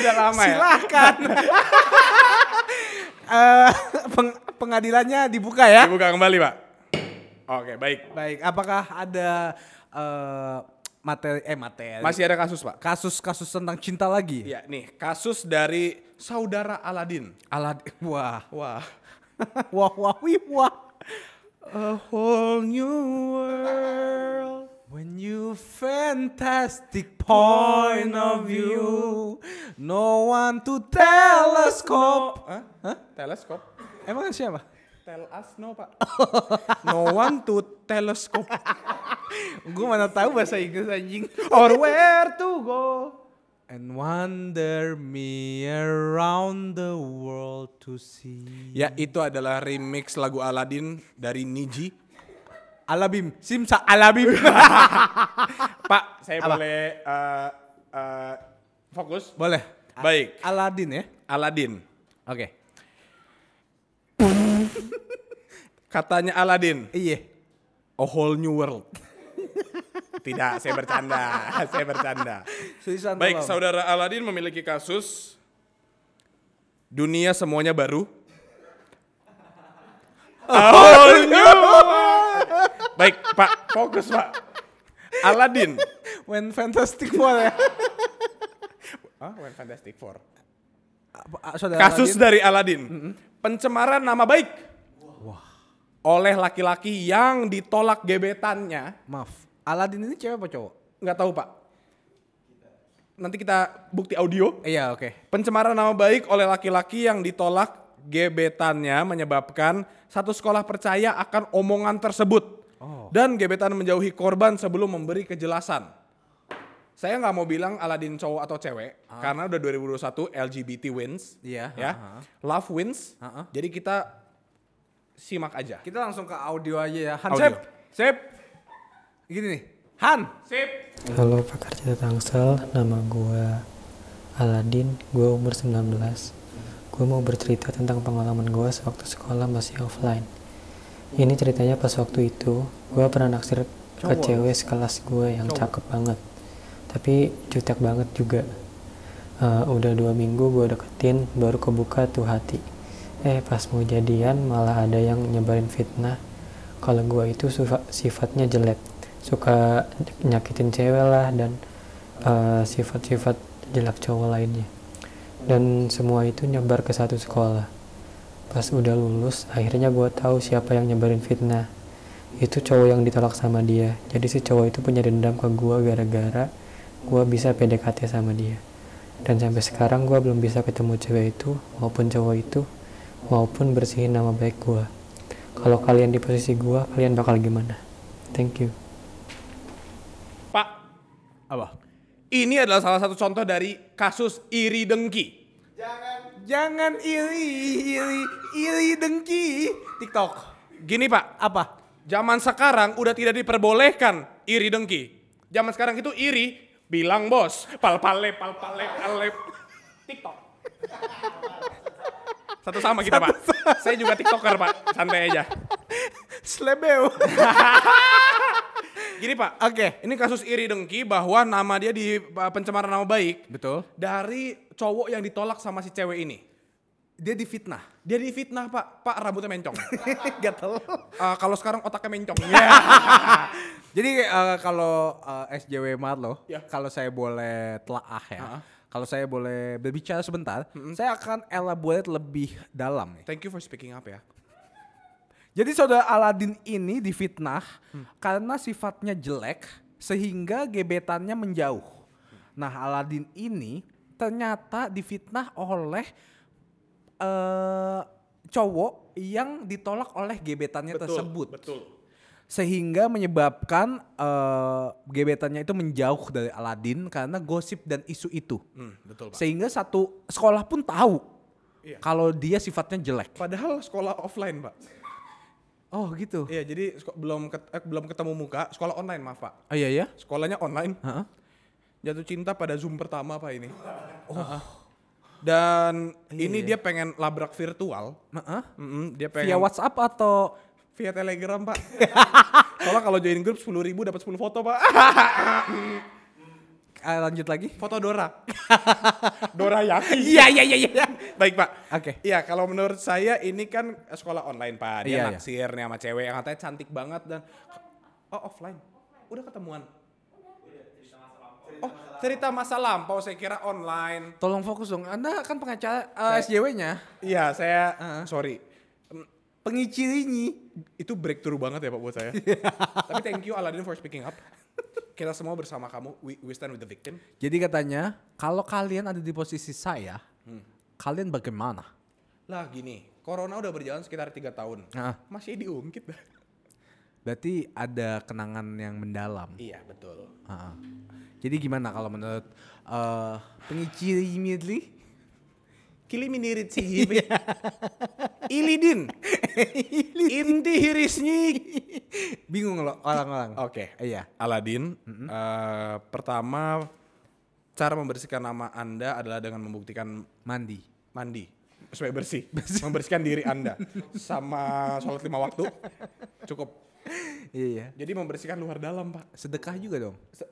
S3: Udah lama ya.
S2: silakan. Eh, peng- pengadilannya dibuka ya.
S3: Dibuka kembali pak. Oke baik.
S2: Baik, apakah ada eh, materi eh materi
S3: Masih ada kasus pak.
S2: kasus-kasus tentang cinta lagi?
S3: Iya nih kasus dari saudara Aladin.
S2: Alad wah.
S3: Wah.
S2: wah wah wih, wah.
S3: A whole new world.
S2: When you fantastic point of view, no one to telescope.
S3: Hah? Teleskop.
S2: Emang siapa?
S3: Tell us no pak. no one to teleskop
S2: Gue mana tahu bahasa Inggris anjing.
S3: or where to go.
S2: And wander me around the world to see.
S3: Ya itu adalah remix lagu Aladin dari Niji.
S2: Alabim, Simsa Alabim.
S3: Pak, saya boleh eh, eh, fokus?
S2: Boleh.
S3: Baik.
S2: Aladin ya.
S3: Aladin.
S2: Oke.
S3: Katanya Aladin,
S2: Iya.
S3: a whole new world. Tidak, saya bercanda. saya bercanda.
S2: Sulisan
S3: Baik,
S2: tolong.
S3: saudara Aladin memiliki kasus dunia semuanya baru. A whole new world. Baik, Pak, fokus, Pak. Aladin.
S2: When Fantastic Four ya.
S3: Ah, when Fantastic Four.
S2: Apa- Saudara
S3: Kasus
S2: Aladin.
S3: dari Aladin. Pencemaran nama baik. Oleh laki-laki yang ditolak gebetannya.
S2: Maaf. Aladin ini cewek apa cowok?
S3: Nggak tahu, Pak. Nanti kita bukti audio.
S2: Iya, oke.
S3: Pencemaran nama baik oleh laki-laki yang ditolak gebetannya menyebabkan satu sekolah percaya akan omongan tersebut.
S2: Oh.
S3: Dan gebetan menjauhi korban sebelum memberi kejelasan. Saya nggak mau bilang Aladin cowok atau cewek karena udah 2021 LGBT wins.
S2: Ah. Iya,
S3: Ya.
S2: aha.
S3: Love wins.
S2: Aha.
S3: Jadi kita simak aja.
S2: Kita langsung ke audio aja ya.
S3: Audio.
S2: Hansep. Sep. Gini nih.
S3: Han.
S8: Halo pakar cerita Tangsel, nama gue Aladin, gue umur 19. Gue mau bercerita tentang pengalaman gue sewaktu sekolah masih offline. Ini ceritanya pas waktu itu, gue pernah naksir ke cewek sekelas gue yang cakep banget. Tapi jutek banget juga. Eh, udah dua minggu gue deketin, baru kebuka tuh hati. Eh pas mau jadian malah ada yang nyebarin fitnah kalau gue itu sufa- sifatnya jelek suka nyakitin cewek lah dan eh, sifat-sifat jelek cowok lainnya dan semua itu nyebar ke satu sekolah pas udah lulus akhirnya gue tahu siapa yang nyebarin fitnah itu cowok yang ditolak sama dia jadi si cowok itu punya dendam ke gue gara-gara gue bisa PDKT sama dia dan sampai sekarang gue belum bisa ketemu cewek itu maupun cowok itu maupun bersihin nama baik gue kalau kalian di posisi gue kalian bakal gimana thank you
S3: Pak. Apa? Ini adalah salah satu contoh dari kasus iri dengki.
S2: Jangan iri, iri, iri dengki. TikTok.
S3: Gini pak. Apa? Zaman sekarang udah tidak diperbolehkan iri dengki. Zaman sekarang itu iri bilang bos. Pal palep, pal palep, palep. TikTok. Satu sama kita pak. Saya juga tiktoker pak. Santai aja.
S2: Slebeu.
S3: Gini pak.
S2: Oke.
S3: Ini kasus iri dengki bahwa nama dia di uh, pencemaran nama baik.
S2: Betul.
S3: Dari cowok yang ditolak sama si cewek ini.
S2: Dia difitnah.
S3: Dia difitnah pak. Pak rambutnya mencong.
S2: Gatel.
S3: Eh, kalau sekarang otaknya mencong.
S2: Jadi eh, kalau eh, SJW Marlo,
S3: Ya.
S2: kalau saya boleh telaah ya.
S3: Ha-ha.
S2: Kalau saya boleh berbicara sebentar, saya akan elaborate lebih dalam nih.
S3: Thank you for speaking up ya.
S2: Jadi saudara Aladin ini difitnah karena sifatnya jelek sehingga gebetannya menjauh. Nah Aladin ini ternyata difitnah oleh eh cowok yang ditolak oleh gebetannya tersebut.
S3: Betul.
S2: Sehingga menyebabkan eh, gebetannya itu menjauh dari Aladin karena gosip dan isu itu.
S3: Hmm, betul pak.
S2: Sehingga satu sekolah pun tahu
S3: Iya.
S2: kalau dia sifatnya jelek.
S3: Padahal sekolah offline pak.
S2: Oh gitu.
S3: Iya jadi seko- belum ket- eh, belum ketemu muka. Sekolah online maaf pak.
S2: Oh iya ya.
S3: Sekolahnya online.
S2: Heeh.
S3: Jatuh cinta pada zoom pertama pak ini.
S2: Oh.
S3: Ah, ah. Dan ini dia pengen labrak virtual.
S2: Iya, Heeh.
S3: Mm-mm, dia
S2: Via
S3: pengen
S2: WhatsApp atau
S3: via telegram pak. Soalnya kalau join grup 10.000 ribu dapat 10 foto pak.
S2: eh, lanjut lagi?
S3: foto Dora. Dora Yaki.
S2: Iya iya iya iya.
S3: Baik pak.
S2: Oke.
S3: Iya kalau menurut saya ini kan sekolah online pak.
S2: Iya,
S3: Dia
S2: iya.
S3: naksir nih sama cewek yang katanya cantik banget dan oh offline. Udah ketemuan. Oh cerita masa lampau saya kira online.
S2: Tolong fokus dong. Anda kan pengacara SJW-nya.
S3: Iya saya sorry.
S2: Pengicirinya.
S3: Itu breakthrough banget ya pak buat saya. Tapi thank you Aladin for speaking up. Kita semua bersama kamu. We, we stand with the victim.
S2: Jadi katanya, kalau kalian ada di posisi saya, kalian bagaimana?
S3: Lah gini, corona udah berjalan sekitar tiga tahun.
S2: Heeh.
S3: Masih diungkit.
S2: Berarti ada kenangan yang mendalam.
S3: iya betul.
S2: Heeh. Jadi gimana kalau menurut eh pengiciri Midli?
S3: Kiliminirit sih. Ilidin. Inti hirisni.
S2: Bingung loh orang-orang.
S3: Oke.
S2: Iya.
S3: Aladin, eh, pertama cara membersihkan nama Anda adalah dengan membuktikan
S2: Mandi.
S3: mandi supaya bersih, membersihkan diri Anda sama sholat lima waktu cukup.
S2: Iya iya.
S3: Jadi membersihkan luar dalam, Pak.
S2: Sedekah juga dong.
S3: Se-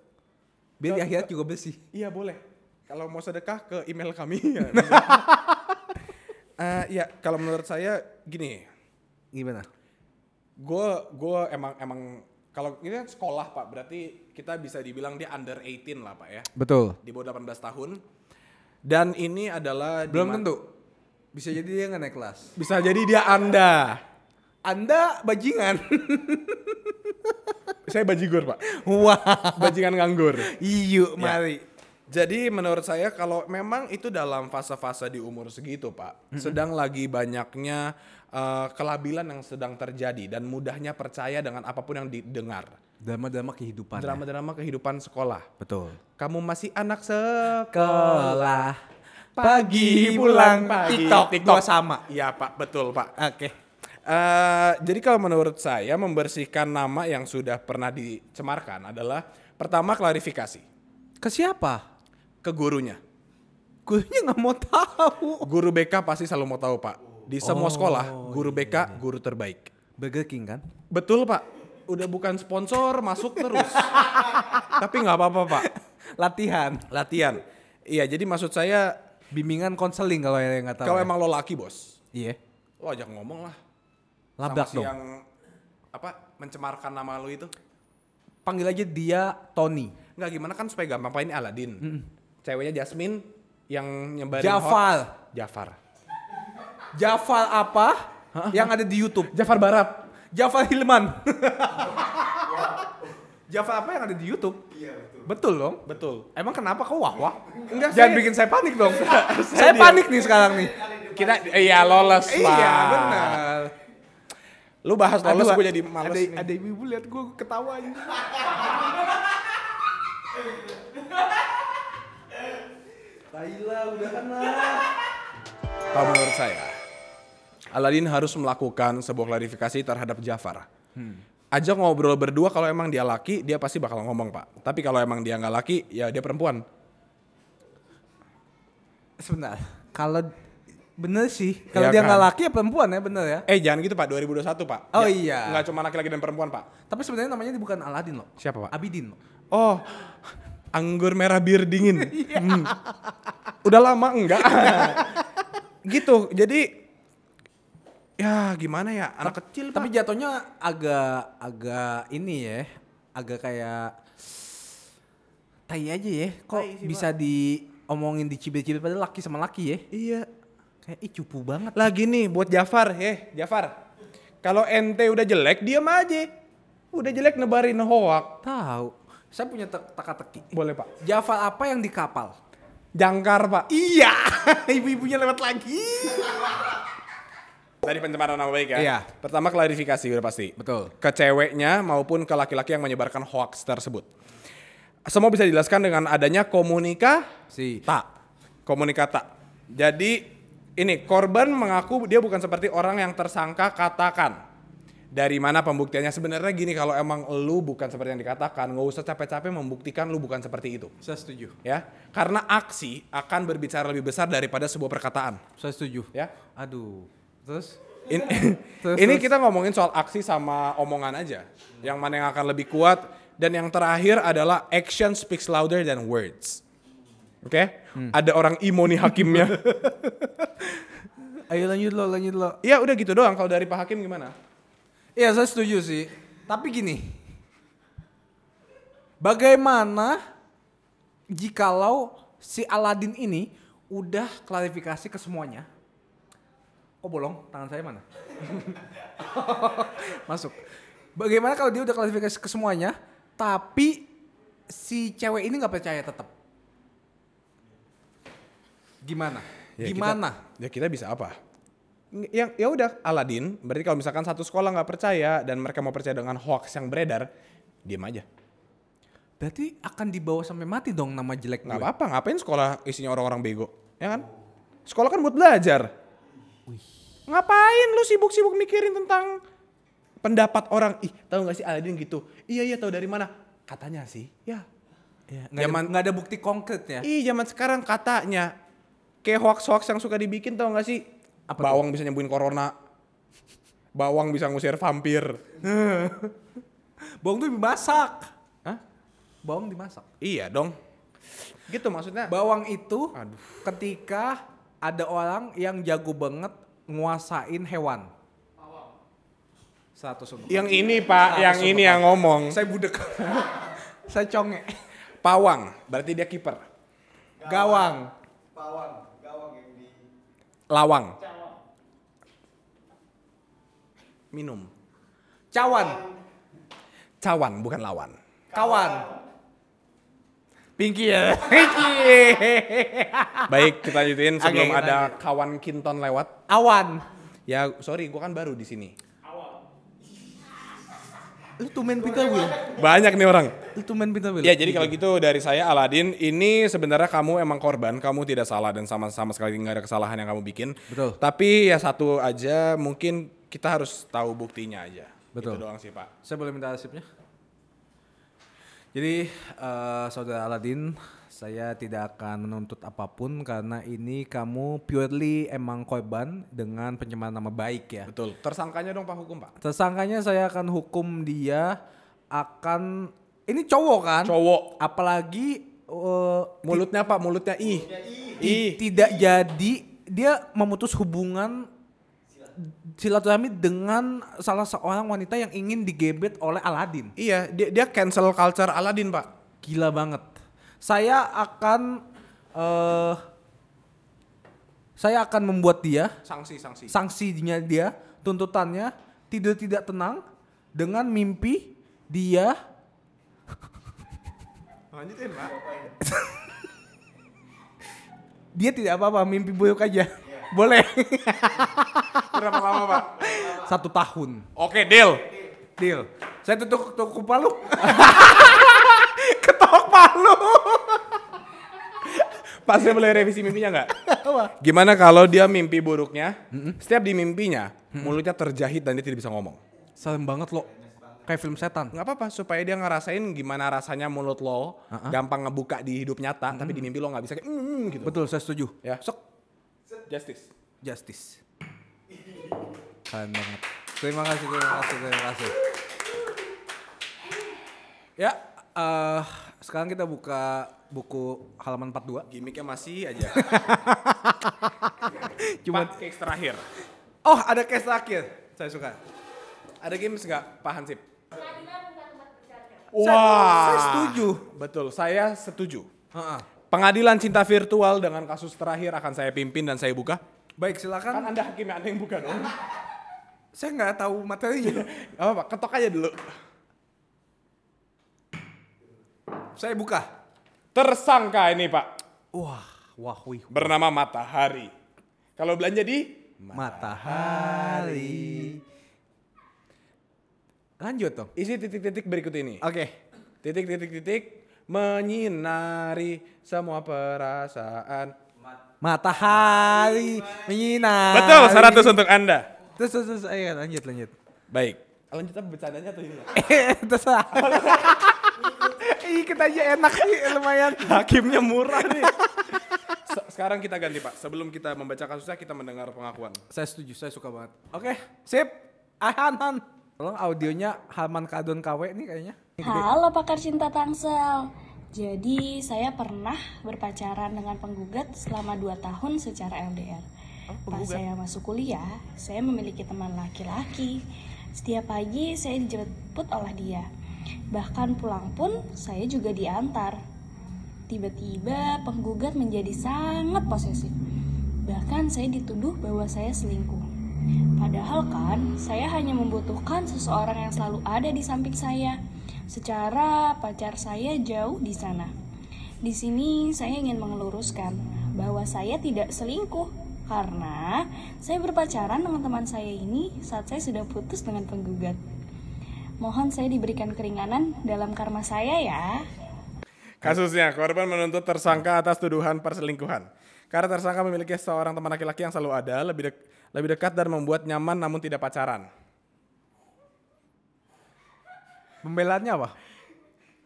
S2: Biar di akhirat juga bersih.
S3: Iya boleh. Kalau mau sedekah ke email kami. Ya, Eh, ya kalau menurut saya gini,
S2: Gimana?
S3: gue gue emang emang kalau ini kan sekolah pak berarti kita bisa dibilang dia under 18 lah pak ya
S2: Betul.
S3: di bawah 18 tahun dan ini adalah di
S2: Belum
S3: ma-
S2: tentu. Bisa jadi dia nggak naik kelas.
S3: bisa jadi dia anda
S2: Anda bajingan.
S3: saya bajigur pak
S2: Wah.
S3: bajingan nganggur
S2: Iyo, Iya,
S3: Ya.
S2: mari.
S3: jadi menurut saya kalau memang itu dalam fase-fase di umur segitu pak sedang lagi banyaknya eh, kelabilan yang sedang terjadi dan mudahnya percaya dengan apapun yang didengar
S2: Drama-drama kehidupan.
S3: drama-drama kehidupan sekolah
S2: Betul.
S3: kamu masih anak sekolah
S2: Kelah.
S3: Pagi pulang pagi.
S2: TikTok. TikTok. sama.
S3: Iya pak, betul pak.
S2: Oke.
S3: Eh Eh, jadi kalau menurut saya membersihkan nama yang sudah pernah dicemarkan adalah pertama klarifikasi
S2: Ke siapa?
S3: ke gurunya.
S2: Gurunya nggak mau tahu.
S3: Guru BK pasti selalu mau tahu pak. Di
S2: Oh,
S3: semua sekolah
S2: iya,
S3: guru BK guru terbaik.
S2: Burger King kan?
S3: Betul pak. Udah bukan sponsor masuk terus. Tapi nggak apa-apa pak.
S2: Latihan.
S3: Latihan. Iya jadi maksud saya
S2: Bimbingan konseling kalau yang nggak tahu. ya.
S3: kalau emang lo laki bos,
S2: Iya.
S3: lo ajak ngomong lah.
S2: Labrak
S3: sama si
S2: dong.
S3: yang apa mencemarkan nama lo itu.
S2: Panggil aja dia Tony.
S3: Nggak gimana kan supaya gampang Pak, ini Aladin. Ceweknya Jasmine yang nyebarin
S2: Jafar.
S3: hoax. Jafar.
S2: Jafar apa? Yang ada di YouTube.
S3: Jafar Barat.
S2: Jafar Hilman. Jafar apa yang ada di YouTube? Iya betul. Betul dong.
S3: Betul.
S2: Emang kenapa kau wah wah?
S3: Enggak,
S2: Jangan
S3: saya-
S2: bikin saya panik dong.
S3: saya
S2: saya
S3: diam.
S2: panik nih sekarang nih.
S3: Kita iya lolos lah.
S2: Iya benar.
S3: Lu bahas lolos
S2: Aduh,
S3: gue jadi males
S2: ada,
S3: nih.
S2: ada ibu lihat gue ketawa aja.
S3: Kalau menurut saya, Aladin harus melakukan sebuah klarifikasi terhadap Jafar. Ajak ngobrol berdua kalau emang dia laki, dia pasti bakal ngomong, Pak. Tapi kalau emang dia nggak laki, ya dia perempuan.
S2: Sebentar. Kalau bener sih, kalau
S3: Iya
S2: dia
S3: kan?
S2: nggak laki ya perempuan ya bener ya.
S3: Eh, jangan gitu, Pak. 2021, Pak.
S2: Oh,
S3: Ya,
S2: iya.
S3: Nggak cuma laki-laki dan perempuan, Pak.
S2: Tapi sebenarnya namanya dia bukan Aladin loh.
S3: Siapa, Pak?
S2: Abidin loh.
S3: Oh, anggur merah bir dingin.
S2: Iya.
S3: Hmm. Udah lama enggak? gitu. Jadi ya gimana ya? Anak kecil,
S2: Tapi
S3: Pak.
S2: jatuhnya agak agak ini ya, agak kayak tai aja ya. Kok bisa diomongin dicibir-cibir padahal laki sama laki ya?
S3: Iya.
S2: Kayak ih cupu banget.
S3: Lagi nih buat Jafar, eh Jafar. Kalau ente udah jelek, diam aja. Udah jelek nebarin hoak.
S2: Tahu. Saya punya te- teka-teki.
S3: Boleh, Pak.
S2: Jafar apa yang di kapal?
S3: Jangkar, Pak.
S2: Iya, ibu-ibunya lewat lagi.
S3: Tadi pencemaran nama baik ya.
S2: Iya.
S3: Pertama klarifikasi udah pasti.
S2: Betul.
S3: Ke ceweknya maupun ke laki-laki yang menyebarkan hoax tersebut. Semua bisa dijelaskan dengan adanya komunika
S2: Si
S3: Tak. Komunikata. Jadi ini korban mengaku dia bukan seperti orang yang tersangka katakan. Dari mana pembuktiannya? Sebenarnya gini kalau emang lu bukan seperti yang dikatakan, nggak usah capek-capek membuktikan lu bukan seperti itu,
S2: saya setuju.
S3: ya. Karena aksi akan berbicara lebih besar daripada sebuah perkataan,
S2: Saya setuju.
S3: ya.
S2: Aduh. Terus
S3: In-
S2: Iya. Terus,
S3: ini
S2: terus.
S3: kita ngomongin soal aksi sama omongan aja. Yang mana yang akan lebih kuat dan yang terakhir adalah action speaks louder than words. Oke?
S2: Hmm.
S3: Ada orang imo nih hakimnya.
S2: ayo lanjut lo, lanjut lo.
S3: Iya udah gitu doang kalau dari Pak Hakim gimana?
S2: Iya, saya setuju sih. Tapi gini. Bagaimana jikalau si Aladin ini udah klarifikasi ke semuanya? Oh, bolong, tangan saya mana? Masuk. Bagaimana kalau dia udah klarifikasi ke semuanya, tapi si cewek ini nggak percaya tetap? Gimana? Gimana?
S3: Kita, ya kita bisa apa? Ng- Yang ya udah Aladin, berarti kalau misalkan satu sekolah nggak percaya dan mereka mau percaya dengan hoax yang beredar, diam aja.
S2: Berarti akan dibawa sampai mati dong nama jelek
S3: Nggak
S2: gue.
S3: apa-apa, ngapain sekolah isinya orang-orang bego, ya kan? Sekolah kan buat belajar. Ngapain lu sibuk-sibuk mikirin tentang pendapat orang? Ih, tahu nggak sih Aladin gitu? Iya iya tahu dari mana? Katanya sih, ya.
S2: Ya, nggak ada-
S3: Zaman-
S2: nggak ada bukti konkret ya.
S3: Ih, zaman sekarang katanya kayak hoax-hoax yang suka dibikin tau gak sih?
S2: Apa
S3: Bawang bisa nyembuhin corona. Bawang bisa ngusir vampir.
S2: Bawang tuh dimasak.
S3: Hah?
S2: Bawang dimasak.
S3: Iya dong. Gitu maksudnya.
S2: Bawang itu ketika ada orang yang jago banget nguasain hewan. Satu sumber.
S3: yang ini pak,
S2: Ah,
S3: yang
S2: kesempatan.
S3: ini yang ngomong.
S2: Saya budek. Saya conge.
S3: ya. Pawang, berarti dia kiper.
S2: Gawang.
S3: Lawang. Minum.
S2: Cawan.
S3: Cawan bukan lawan.
S2: Kawan. Pinky ya.
S3: Baik, kita lanjutin sebelum
S2: kita
S3: ada kawan Kinton lewat.
S2: Awan.
S3: Ya, sorry, gua kan baru di sini.
S2: Lu tumen pintar Will.
S3: Banyak nih orang.
S2: Lu tumen pintar Will.
S3: Ya jadi kalau gitu dari saya Aladin, ini sebenarnya kamu emang korban, kamu tidak salah dan sama-sama sekali nggak ada kesalahan yang kamu bikin.
S2: Betul.
S3: Tapi ya satu aja mungkin kita harus tahu buktinya aja.
S2: Betul.
S3: Itu doang sih Pak.
S2: Saya boleh minta sipnya? Jadi eh, saudara Aladin, saya tidak akan menuntut apapun karena ini kamu purely emang korban dengan pencemaran nama baik ya.
S3: Betul. Tersangkanya dong Pak hukum Pak.
S2: Tersangkanya saya akan hukum dia akan ini cowok kan?
S3: Cowok.
S2: Apalagi eh,
S3: Mulutnya Pak, mulutnya i. I.
S2: ti- tidak jadi dia memutus hubungan silaturahmi dengan salah seorang wanita yang ingin digebet oleh Aladin.
S3: Iya, dia dia cancel culture Aladin Pak.
S2: Gila banget. Saya akan eh saya akan membuat dia
S3: Sanksi, sanksi.
S2: sanksinya dia, tuntutannya tidur tidak tenang dengan mimpi dia
S3: Lanjutin Pak.
S2: dia tidak apa-apa, mimpi buruk aja.
S3: Iya.
S2: Boleh.
S3: Berapa lama Pak?
S2: Satu tahun.
S3: Oke, deal.
S2: Deal. Saya tutup tutup palu. Ketok palu.
S3: Pak, saya boleh revisi mimpinya nggak? Gimana kalau dia mimpi buruknya, setiap di mimpinya, mulutnya terjahit dan dia tidak bisa ngomong.
S2: Serem banget lo. Kayak film setan.
S3: nggak apa-apa supaya dia ngerasain gimana rasanya mulut lo gampang ngebuka di hidup nyata tapi di mimpi lo nggak bisa kayak "Mm," gitu
S2: Betul, saya setuju.
S3: ya sok justice
S2: Justice. Keren banget. Terima kasih, terima kasih, terima kasih. Ya, eh sekarang kita buka buku halaman 42.
S3: gimmicknya masih aja
S2: Cuma
S3: cuma case terakhir
S2: Oh, ada case terakhir. Saya suka.
S3: ada games nggak pak Hansip
S2: saya setuju.
S3: betul saya setuju
S2: Heeh.
S3: pengadilan cinta virtual dengan kasus terakhir akan saya pimpin dan saya buka
S2: Baik, silakan.
S3: kan anda hakim anda yang buka dong Nggak
S2: Saya nggak tahu materinya.
S3: apa-apa ketok aja dulu
S2: saya buka.
S3: tersangka ini pak
S2: Wah, wah, wih.
S3: bernama Matahari kalau belanja di
S2: Matahari. Lanjut dong.
S3: isi titik-titik berikut ini
S2: Oke.
S3: titik titik titik menyinari semua perasaan.
S2: Matahari menyinari.
S3: Betul, 100 untuk Anda.
S2: Terus, terus, terus, ayo lanjut, lanjut.
S3: Baik. Lanjut apa bercandanya atau ini?
S2: terus. Ikut aja enak sih, lumayan.
S3: Hakimnya murah nih. Se- Sekarang kita ganti Pak. Sebelum kita membaca kasusnya kita mendengar pengakuan.
S2: Saya setuju, saya suka banget. Oke, sip. Ahan, Han. Tolong audionya Halman Kadon KW nih kayaknya.
S7: Halo pakar cinta Tangsel. Jadi saya pernah berpacaran dengan penggugat selama 2 tahun secara LDR. Pas saya masuk kuliah, saya memiliki teman laki-laki. Setiap pagi saya dijemput oleh dia. Bahkan pulang pun saya juga diantar. Tiba-tiba penggugat menjadi sangat posesif. Bahkan saya dituduh bahwa saya selingkuh. Padahal kan saya hanya membutuhkan seseorang yang selalu ada di samping saya. Secara pacar saya jauh di sana. Di sini saya ingin mengeluruskan bahwa saya tidak selingkuh karena saya berpacaran dengan teman saya ini saat saya sudah putus dengan penggugat. Mohon saya diberikan keringanan dalam karma saya ya.
S3: Kasusnya, korban menuntut tersangka atas tuduhan perselingkuhan. Karena tersangka memiliki seorang teman laki-laki yang selalu ada, lebih dek- lebih dekat dan membuat nyaman namun tidak pacaran.
S2: Pembelaannya apa?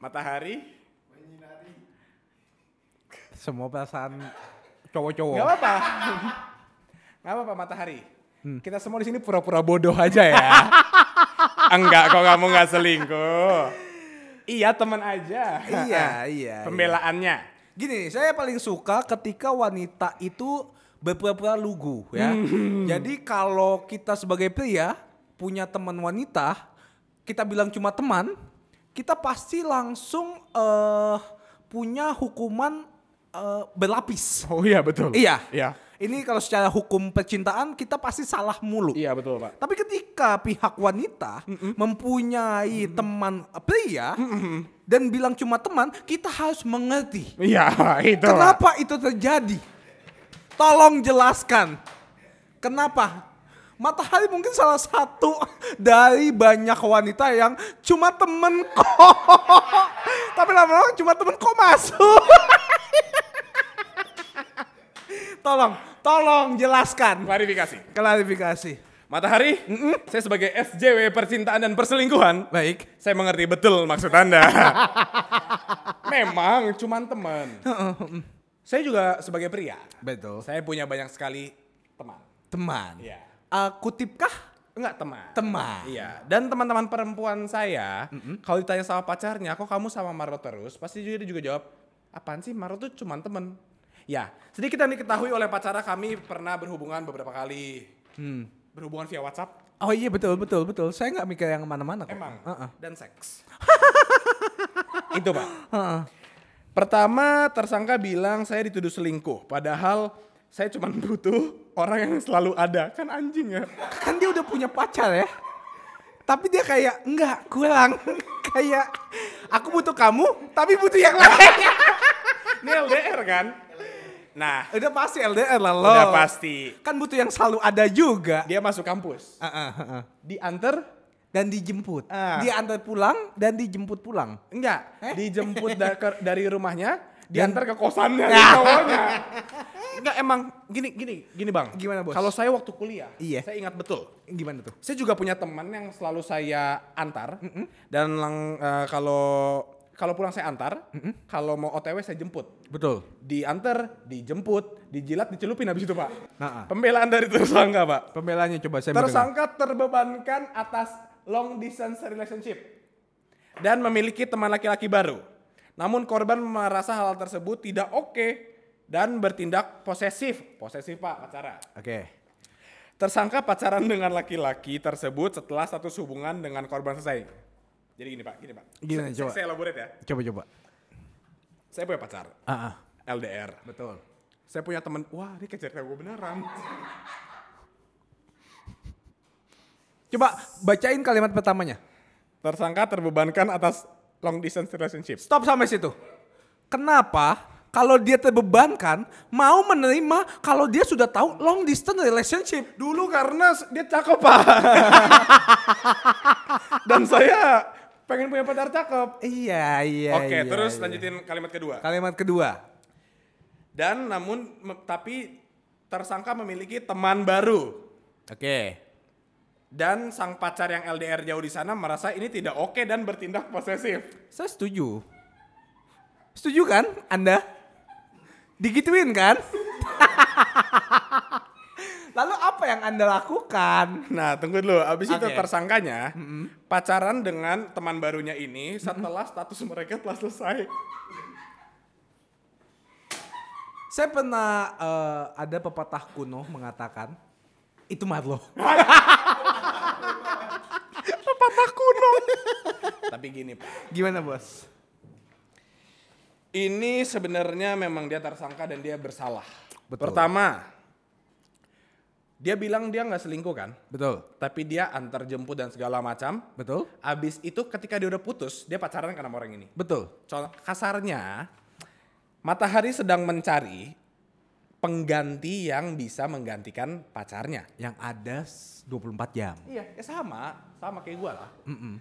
S3: Matahari?
S2: Semua perasaan cowok-cowok.
S3: Gak apa-apa. Hmm. Gak apa-apa matahari. Kita semua di sini pura-pura bodoh aja ya. Enggak kok kamu nggak selingkuh. Iya teman aja.
S2: Iya, iya,
S3: Pembelaannya.
S2: Gini, saya paling suka ketika wanita itu berpura-pura lugu ya.
S3: Hmm.
S2: Jadi kalau kita sebagai pria punya teman wanita, kita bilang cuma teman, kita pasti langsung eh punya hukuman eh, berlapis.
S3: Oh iya betul.
S2: Iya.
S3: Iya.
S2: Ini kalau secara hukum percintaan kita pasti salah mulu.
S3: Iya betul pak.
S2: Tapi ketika pihak wanita mempunyai teman pria dan bilang cuma teman, kita harus mengerti.
S3: Iya itu. Pak.
S2: Kenapa itu terjadi? Tolong jelaskan. Kenapa? Matahari mungkin salah satu dari banyak wanita yang cuma temen kok. Tapi lama-lama cuma temen kok masuk. tolong, tolong jelaskan.
S3: Klarifikasi.
S2: Klarifikasi.
S3: Matahari, saya sebagai SJW percintaan dan perselingkuhan,
S2: Baik.
S3: saya mengerti betul maksud Anda. Memang cuman teman. saya juga sebagai pria,
S2: Betul.
S3: saya punya banyak sekali teman.
S2: Teman.
S3: Iya.
S2: Aku kutipkah?
S3: Enggak teman.
S2: Teman.
S3: Iya, dan teman-teman perempuan saya, kalau ditanya sama pacarnya, kok kamu sama Maro terus? Pasti juga dia juga jawab, apaan sih Maro tuh cuman temen. Ya, sedikit yang diketahui oleh pacara kami pernah berhubungan beberapa kali. Berhubungan via WhatsApp,
S2: Oh iya betul betul betul. Saya nggak mikir yang mana-mana kok.
S3: emang,
S2: Heeh.
S3: dan seks. Itu pak. Pertama tersangka bilang saya dituduh selingkuh, padahal saya cuma butuh orang yang selalu ada. Kan anjing ya.
S2: Kan dia udah punya pacar ya. Tapi dia kayak enggak kurang. kayak aku butuh kamu tapi butuh yang lain.
S3: Ini LDR kan? Nah,
S2: udah pasti LDR lah lo.
S3: udah pasti. Ah,
S2: Kan butuh yang selalu ada juga.
S3: Dia masuk kampus.
S2: Heeh, heeh.
S3: diantar
S2: Dan dijemput.
S3: Ah.
S2: Dia antar pulang dan dijemput pulang.
S3: enggak dijemput da- ke- dari rumahnya
S2: Dan-
S3: diantar ke kosannya si cowoknya Nah. enggak emang gini gini gini bang
S2: Gimana, Bos?
S3: kalau saya waktu kuliah
S2: Iya.
S3: saya ingat betul
S2: Gimana tuh?
S3: saya juga punya teman yang selalu saya antar dan lang- eh, kalau kalau pulang saya antar kalau mau otw saya jemput
S2: Betul.
S3: diantar dijemput dijilat dicelupin habis itu pak
S2: Nah, ah.
S3: pembelaan dari tersangka pak
S2: Pembelanya coba saya
S3: Tersangka terbebankan atas long distance relationship dan memiliki teman laki-laki baru. Namun korban merasa hal tersebut tidak oke dan bertindak posesif. Posesif Pak, pacaran.
S2: Oke.
S3: Tersangka pacaran dengan laki-laki tersebut setelah status hubungan dengan korban selesai. Jadi gini Pak, gini Pak.
S2: Gimana,
S3: Saya-
S2: coba?
S3: Saya elaborate ya.
S2: Coba coba.
S3: Saya punya pacar,
S2: Ah, ah.
S3: LDR.
S2: Betul.
S3: Saya punya teman, wah ini kayak cerita gue beneran.
S2: Coba bacain kalimat pertamanya.
S3: Tersangka terbebankan atas long distance relationship.
S2: Stop sampai situ. Kenapa kalau dia terbebankan mau menerima kalau dia sudah tahu long distance relationship?
S3: Dulu karena s- dia cakep pak. Dan saya pengen punya pacar cakep.
S2: Iya, iya.
S3: Oke,
S2: iya,
S3: terus
S2: iya.
S3: lanjutin kalimat kedua.
S2: Kalimat kedua.
S3: Dan namun me- tapi tersangka memiliki teman baru
S2: Oke.
S3: dan sang pacar yang LDR jauh di sana merasa ini tidak oke dan bertindak posesif.
S2: Saya setuju. Setuju kan Anda? Digituin kan? Lalu apa yang Anda lakukan?
S3: Nah, tunggu dulu. Abis itu
S2: Oke.
S3: tersangkanya pacaran dengan teman barunya ini setelah status mereka telah selesai.
S2: Saya pernah eh, ada pepatah kuno mengatakan itu Marlo.
S3: Pepatah kuno. Tapi gini, Pak.
S2: Gimana bos?
S3: Ini sebenarnya memang dia tersangka dan dia bersalah.
S2: Betul.
S3: Pertama, dia bilang dia nggak selingkuh kan,
S2: Betul,
S3: tapi dia antar jemput dan segala macam.
S2: betul,
S3: Abis itu ketika dia udah putus, dia pacaran kan sama orang ini.
S2: betul.
S3: Contoh kasarnya, Matahari sedang mencari pengganti yang bisa menggantikan pacarnya.
S2: Yang ada s- 24 jam.
S3: Iya, ya sama, sama kayak gue lah.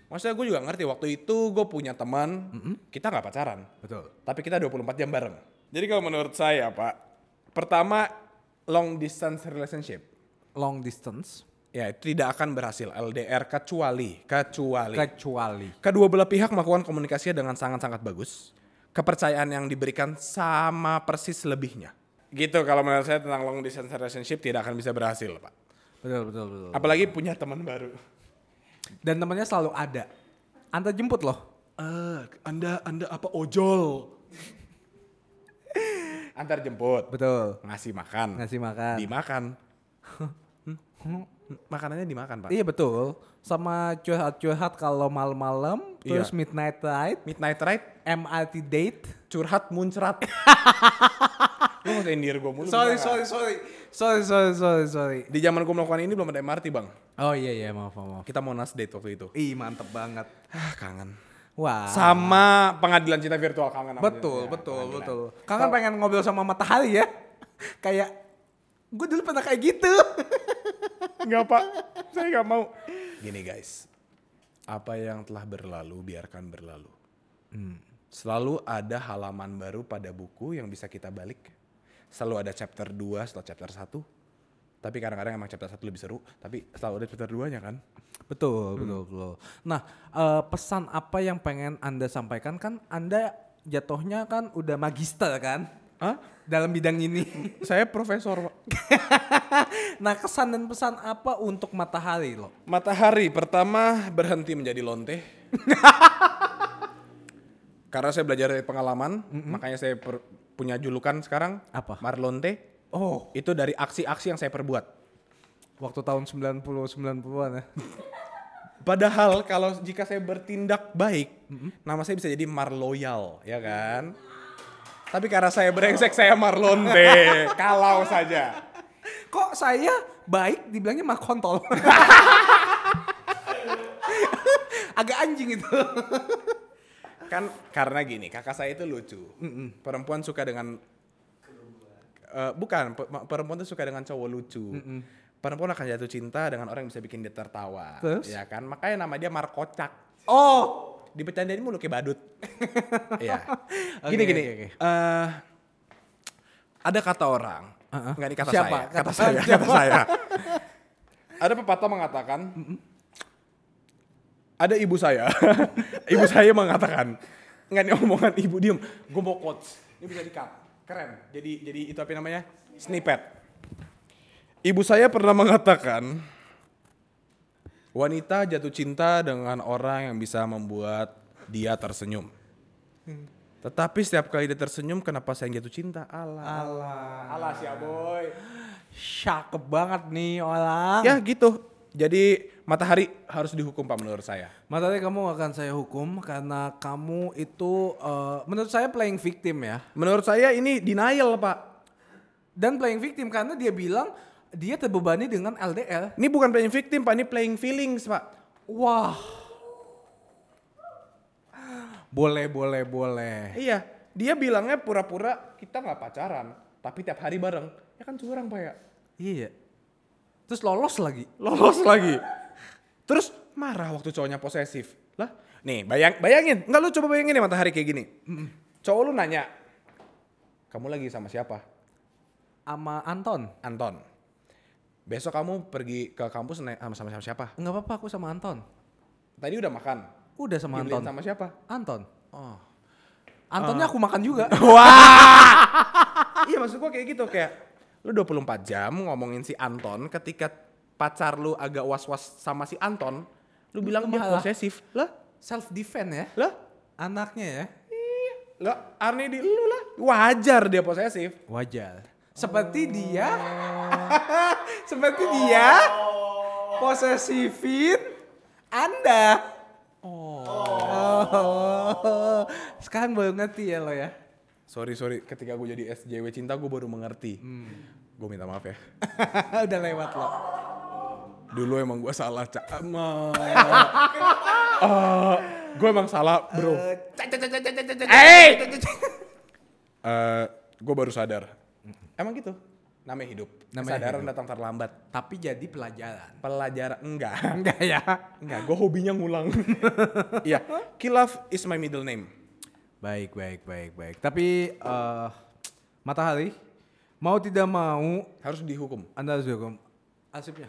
S3: Maksudnya gue juga ngerti waktu itu gue punya teman, kita nggak pacaran
S2: Betul.
S3: tapi kita 24 jam bareng. Jadi kalau menurut saya, Pak, pertama long distance relationship
S2: Long distance
S3: ya itu tidak akan berhasil LDR kecuali kecuali
S2: kecuali.
S3: kedua belah pihak melakukan komunikasinya dengan sangat-sangat bagus. Kepercayaan yang diberikan sama persis lebihnya. Gitu kalau menurut saya tentang long distance relationship tidak akan bisa berhasil, Pak.
S2: Betul, betul, betul.
S3: Apalagi punya teman baru.
S2: Dan temannya selalu ada. Antar jemput loh.
S3: Eh, Anda Anda apa ojol? Antar jemput.
S2: Betul.
S3: ngasih makan
S2: Ngasih makan.
S3: dimakan Hmm? makanannya dimakan pak
S2: Iya betul. Sama curhat-curhat kalau malam-malam,
S3: Iya.
S2: terus midnight ride,
S3: midnight ride
S2: MRT date.
S3: curhat muncrat lu nggak indir gue mulu
S2: Sorry,
S3: beneran.
S2: sorry, sorry. Sorry, sorry, sorry, sorry.
S3: di zaman gue melakukan ini belum ada MRT bang
S2: Oh iya iya, maaf, maaf.
S3: kita mau nas date waktu itu
S2: Ih, mantep banget.
S3: ah kangen
S2: Wah.
S3: sama pengadilan cinta virtual kangen sama
S2: Betul,
S3: dia. Iya,
S2: betul,
S3: Pengadilan.
S2: betul. Kangen pengen ngobrol sama matahari ya. kayak gue dulu pernah kayak gitu.
S3: nggak pak saya nggak mau gini guys apa yang telah berlalu biarkan berlalu Hmm. selalu ada halaman baru pada buku yang bisa kita balik selalu ada chapter 2 setelah chapter 1 Tapi kadang-kadang emang chapter satu lebih seru, tapi selalu ada chapter duanya kan.
S2: Betul, betul, betul. Nah, eh, pesan apa yang pengen Anda sampaikan kan Anda jatuhnya kan udah magister kan?
S3: Hah?
S2: Dalam bidang ini.
S3: Saya profesor Pak.
S2: nah, kesan dan pesan apa untuk Matahari lo?
S3: Matahari pertama berhenti menjadi lonte. Karena saya belajar dari pengalaman, makanya saya per- punya julukan sekarang.
S2: Apa?
S3: Marlonte.
S2: Oh.
S3: Itu dari aksi-aksi yang saya perbuat.
S2: Waktu tahun 90-90-an ya.
S3: Padahal kalau jika saya bertindak baik, nama saya bisa jadi Marloyal, ya kan? Tapi karena saya brengsek, saya Marlonte. kalau saja.
S2: Kok saya baik dibilangnya mah kontol. Agak anjing itu.
S3: Kan karena gini, kakak saya itu lucu. Perempuan suka dengan Eh, bukan pe- ma- perempuan tuh suka dengan cowok lucu. Perempuan akan jatuh cinta dengan orang yang bisa bikin dia tertawa.
S2: Terus?
S3: Ya kan? Makanya nama dia Markocak.
S2: Oh,
S3: dibecandain mulu kayak badut. Iya.
S2: Oke,
S3: Gini gini.
S2: oke, oke.
S3: eh, ada kata orang,
S2: Uh-uh.
S3: nggak ini kata
S2: Siapa?
S3: saya, kata
S2: Kata-
S3: saya,
S2: siapa?
S3: kata saya. ada pepatah mengatakan ada ibu saya. ibu saya mengatakan, nggak nih omongan ibu diem, gue mau quotes. Ini bisa di-cut. Keren. Jadi jadi itu apa namanya? Snippet. Ibu saya pernah mengatakan, wanita jatuh cinta dengan orang yang bisa membuat dia tersenyum. Tetapi setiap kali dia tersenyum, kenapa saya yang jatuh cinta? Allah.
S2: Alah,
S3: Allah ya boy.
S2: cakep banget nih orang.
S3: Ya gitu. Jadi matahari harus dihukum pak menurut saya.
S2: Matahari kamu akan saya hukum karena kamu itu eh, menurut saya playing victim ya.
S3: Menurut saya ini denial pak.
S2: Dan playing victim karena dia bilang dia terbebani dengan LDR.
S3: Ini bukan playing victim pak, ini playing feelings pak.
S2: Wah. Boleh, boleh, boleh.
S3: Iya, dia bilangnya pura-pura kita nggak pacaran, tapi tiap hari bareng. Ya kan curang pak ya.
S2: Iya. Terus lolos lagi.
S3: lolos lagi. Terus marah waktu cowoknya posesif. Lah, nih bayang bayangin, nggak lu coba bayangin ya matahari kayak gini. Cowok lu nanya, kamu lagi sama siapa?
S2: Sama Anton.
S3: Anton. Besok kamu pergi ke kampus naik sama sama sama siapa?
S2: Enggak apa-apa aku sama Anton.
S3: Tadi udah makan.
S2: Udah sama Ah.
S3: Dibeliin
S2: Anton.
S3: sama siapa?
S2: Anton. Oh. Antonnya aku makan juga.
S3: iya maksud gua kayak gitu kayak lu 24 jam ngomongin si Anton ketika pacar lu agak was-was sama si Anton, lu bilang dia
S2: malah.
S3: posesif. Lah,
S2: Self defense ya.
S3: lah,
S2: Anaknya ya.
S3: lah, Arni di lu lah. Wajar dia posesif.
S2: Wajar. Seperti dia.
S3: Oh.
S2: seperti dia. Posesifin Anda. Oh. Sekarang baru ngerti ya lo ya.
S3: Sorry sorry, ketika gue jadi SJW cinta gue baru mengerti. Gue minta maaf ya.
S2: Hmm. Udah lewat lo.
S3: Dulu emang gue salah, cak. gue emang salah, bro.
S2: Eh.
S3: gue Eh, baru sadar. Emang gitu. Namanya hidup.
S2: Namanya
S3: Kesadaran
S2: hidup.
S3: datang terlambat.
S2: Tapi jadi pelajaran.
S3: Pelajaran enggak.
S2: Enggak ya.
S3: Enggak, gue hobinya ngulang. Iya, Kilaf is my middle name.
S2: Baik, baik, baik, baik. Tapi eh Matahari mau tidak mau
S3: Harus dihukum.
S2: Anda harus dihukum. Asipnya.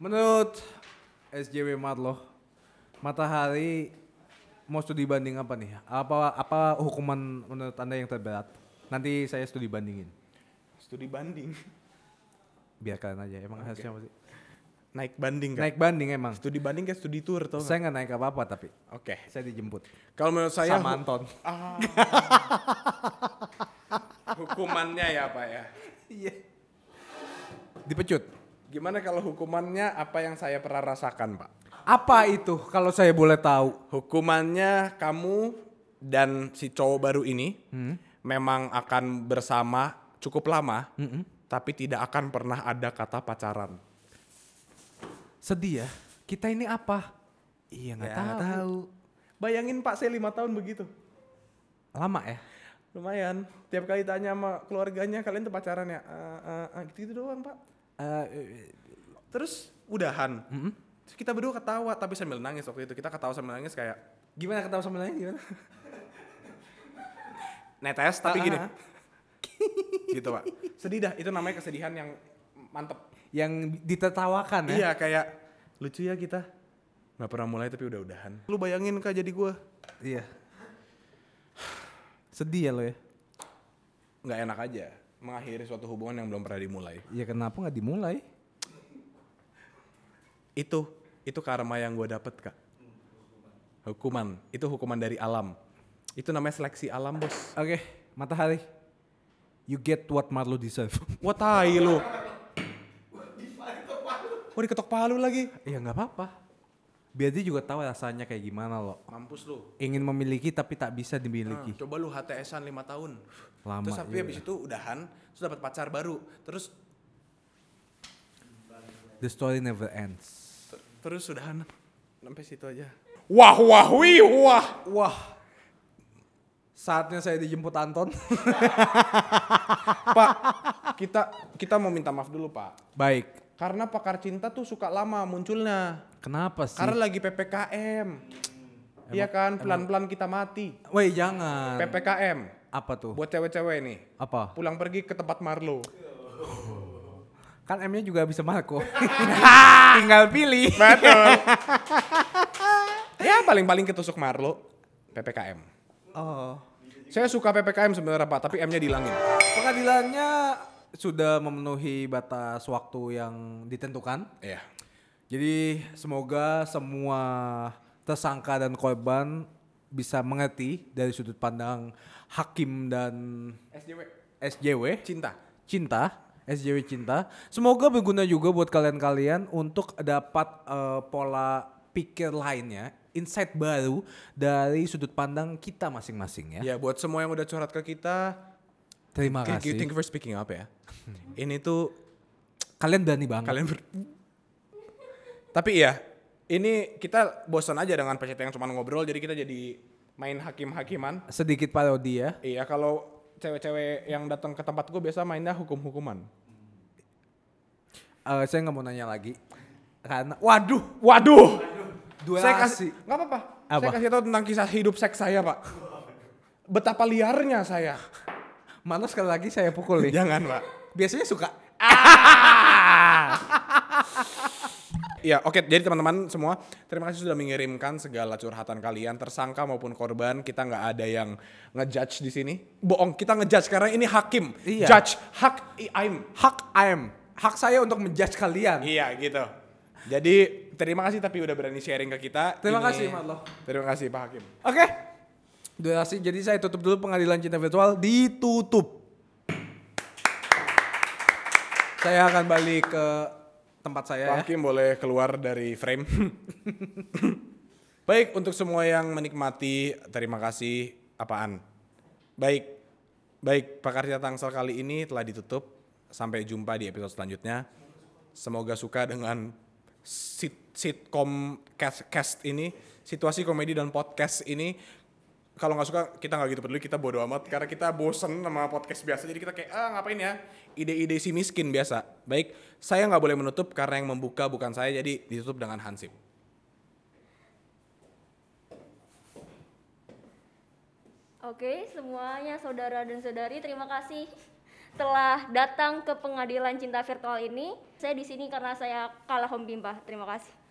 S2: Menurut SJW Marlo, Matahari mau studi banding apa nih? Apa apa hukuman menurut Anda yang terberat? Nanti saya studi bandingin.
S3: Studi banding.
S2: Biar kalian aja. Emang hasilnya apa sih?
S3: Naik banding kan?
S2: Naik banding emang.
S3: Studi banding kayak studi tour tau nggak?
S2: Saya nggak naik apa-apa tapi
S3: Oke.
S2: saya dijemput.
S3: Kalau menurut saya
S2: Sama
S3: hu- Ah.
S2: Anton.
S3: hukumannya ya Pak ya.
S2: Dipecut.
S3: Gimana kalau hukumannya apa yang saya pernah rasakan Pak?
S2: Apa itu kalau saya boleh tahu?
S3: Hukumannya kamu dan si cowok baru ini memang akan bersama cukup lama, tapi tidak akan pernah ada kata pacaran.
S2: Sedih ya. Kita ini apa? Iya nggak tahu.
S3: Ya, Bayangin Pak, saya lima tahun begitu.
S2: Lama ya.
S3: Lumayan. Tiap kali tanya sama keluarganya, kalian tuh pacaran ya? Eh, eh, eh, gitu-gitu doang Pak. Eh, Terus udahan. Terus kita berdua ketawa, tapi sambil nangis waktu itu. Kita ketawa sambil nangis kayak "Nah,
S2: gimana ketawa sama lain gimana?
S3: Ah, netes, tapi gini. gitu pak sedih dah itu namanya kesedihan yang mantep
S2: yang ditertawakan ya.
S3: iya kayak lucu ya kita nggak pernah mulai tapi udah udahan lu bayangin kak jadi gue
S2: Iya. Sedih ya lo ya.
S3: nggak enak aja mengakhiri suatu hubungan yang belum pernah dimulai
S2: Ya kenapa nggak dimulai?
S3: itu itu karma yang gue dapet kak hukuman itu hukuman dari alam itu namanya seleksi alam bos
S2: Oke, matahari. You get what Marlo deserve.
S3: wah tai lu wah diketok palu lagi
S2: ya nggak apa-apa. Biar dia juga tahu rasanya kayak gimana lo.
S3: mampus lu
S2: Ingin memiliki tapi tak bisa
S3: Nah,
S2: dimiliki.
S3: coba lu HTSan 5 tahun
S2: Lama
S3: terus tapi
S2: juga.
S3: habis itu udahan terus dapat pacar baru terus
S2: The story never ends.
S3: ter- terus udahan sampai situ aja wah wah wih wah
S2: Wah. Saatnya saya dijemput Anton.
S3: pak kita kita mau minta maaf dulu pak
S2: Baik.
S3: karena pakar cinta tuh suka lama munculnya
S2: Kenapa sih?
S3: Karena lagi PPKM. Iya kan, pelan-pelan kita mati.
S2: Woi, jangan.
S3: PPKM
S2: Apa tuh?
S3: buat cewek-cewek nih.
S2: Apa?
S3: Pulang pergi ke tempat Marlo.
S2: Kan M-nya juga bisa Marco. Ah! Tinggal pilih.
S3: Betul. ya paling-paling ketusuk Marlo PPKM.
S2: Oh.
S3: Saya suka PPKM sebenarnya Pak, tapi M-nya dihilangin.
S2: Pengadilannya sudah memenuhi batas waktu yang ditentukan.
S3: Iya.
S2: Jadi semoga semua tersangka dan korban bisa mengerti dari sudut pandang hakim dan
S3: SJW
S2: SJW
S3: cinta.
S2: cinta SJW cinta. Semoga berguna juga buat kalian-kalian untuk dapat eh, pola pikir lainnya, insight baru dari sudut pandang kita masing-masing ya.
S3: Ya buat semua yang udah curhat ke kita,
S2: Terima
S3: thank you,
S2: kasih.
S3: thank you for speaking up ya.
S2: Hmm.
S3: Ini tuh
S2: Kalian berani banget.
S3: kalian ber- tapi ya ini kita bosan aja dengan peserta yang cuma ngobrol jadi kita jadi main hakim-hakiman
S2: Sedikit parodi ya.
S3: iya kalau cewek-cewek yang datang ke tempat gue biasa mainnya hukum-hukuman
S2: Eh, saya nggak mau nanya lagi karena waduh
S3: waduh saya
S2: durasi
S3: kasih nggak apa-apa
S2: Apa?
S3: saya kasih tahu tentang kisah hidup seks saya pak betapa liarnya saya
S2: malah sekali lagi saya pukul nih
S3: jangan pak
S2: biasanya suka Ah.
S3: Iya, oke. Jadi teman-teman semua, terima kasih sudah mengirimkan segala curhatan kalian, tersangka maupun korban. Kita nggak ada yang ngejudge di sini. Bohong, kita ngejudge karena ini hakim.
S2: Iya.
S3: Judge, hak, i- I'm.
S2: hak am hak saya untuk menjudge kalian
S3: Iya, gitu. Jadi terima kasih tapi udah berani sharing ke kita.
S2: Terima
S3: Ini-
S2: kasih, Matloh.
S3: Terima kasih Pak Hakim.
S2: oke durasi jadi saya tutup dulu pengadilan cinta virtual ditutup saya akan balik ke tempat saya
S3: Pak
S2: ya.
S3: Hakim boleh keluar dari frame. Baik, untuk semua yang menikmati, terima kasih. Apaan? Baik, baik. Pakar Cerita Tangsel kali ini telah ditutup. Sampai jumpa di episode selanjutnya. Semoga suka dengan sit sitcom cast, cast ini, situasi komedi dan podcast ini. Kalau nggak suka kita nggak gitu peduli, kita bodo amat karena kita bosen sama podcast biasa. Jadi kita kayak ah ngapain ya? Ide-ide si miskin biasa. Baik, saya nggak boleh menutup karena yang membuka bukan saya, jadi ditutup dengan Hansip.
S1: Oke, semuanya saudara dan saudari, terima kasih telah datang ke pengadilan cinta virtual ini. Saya di sini karena saya kalah home bimba. Terima kasih.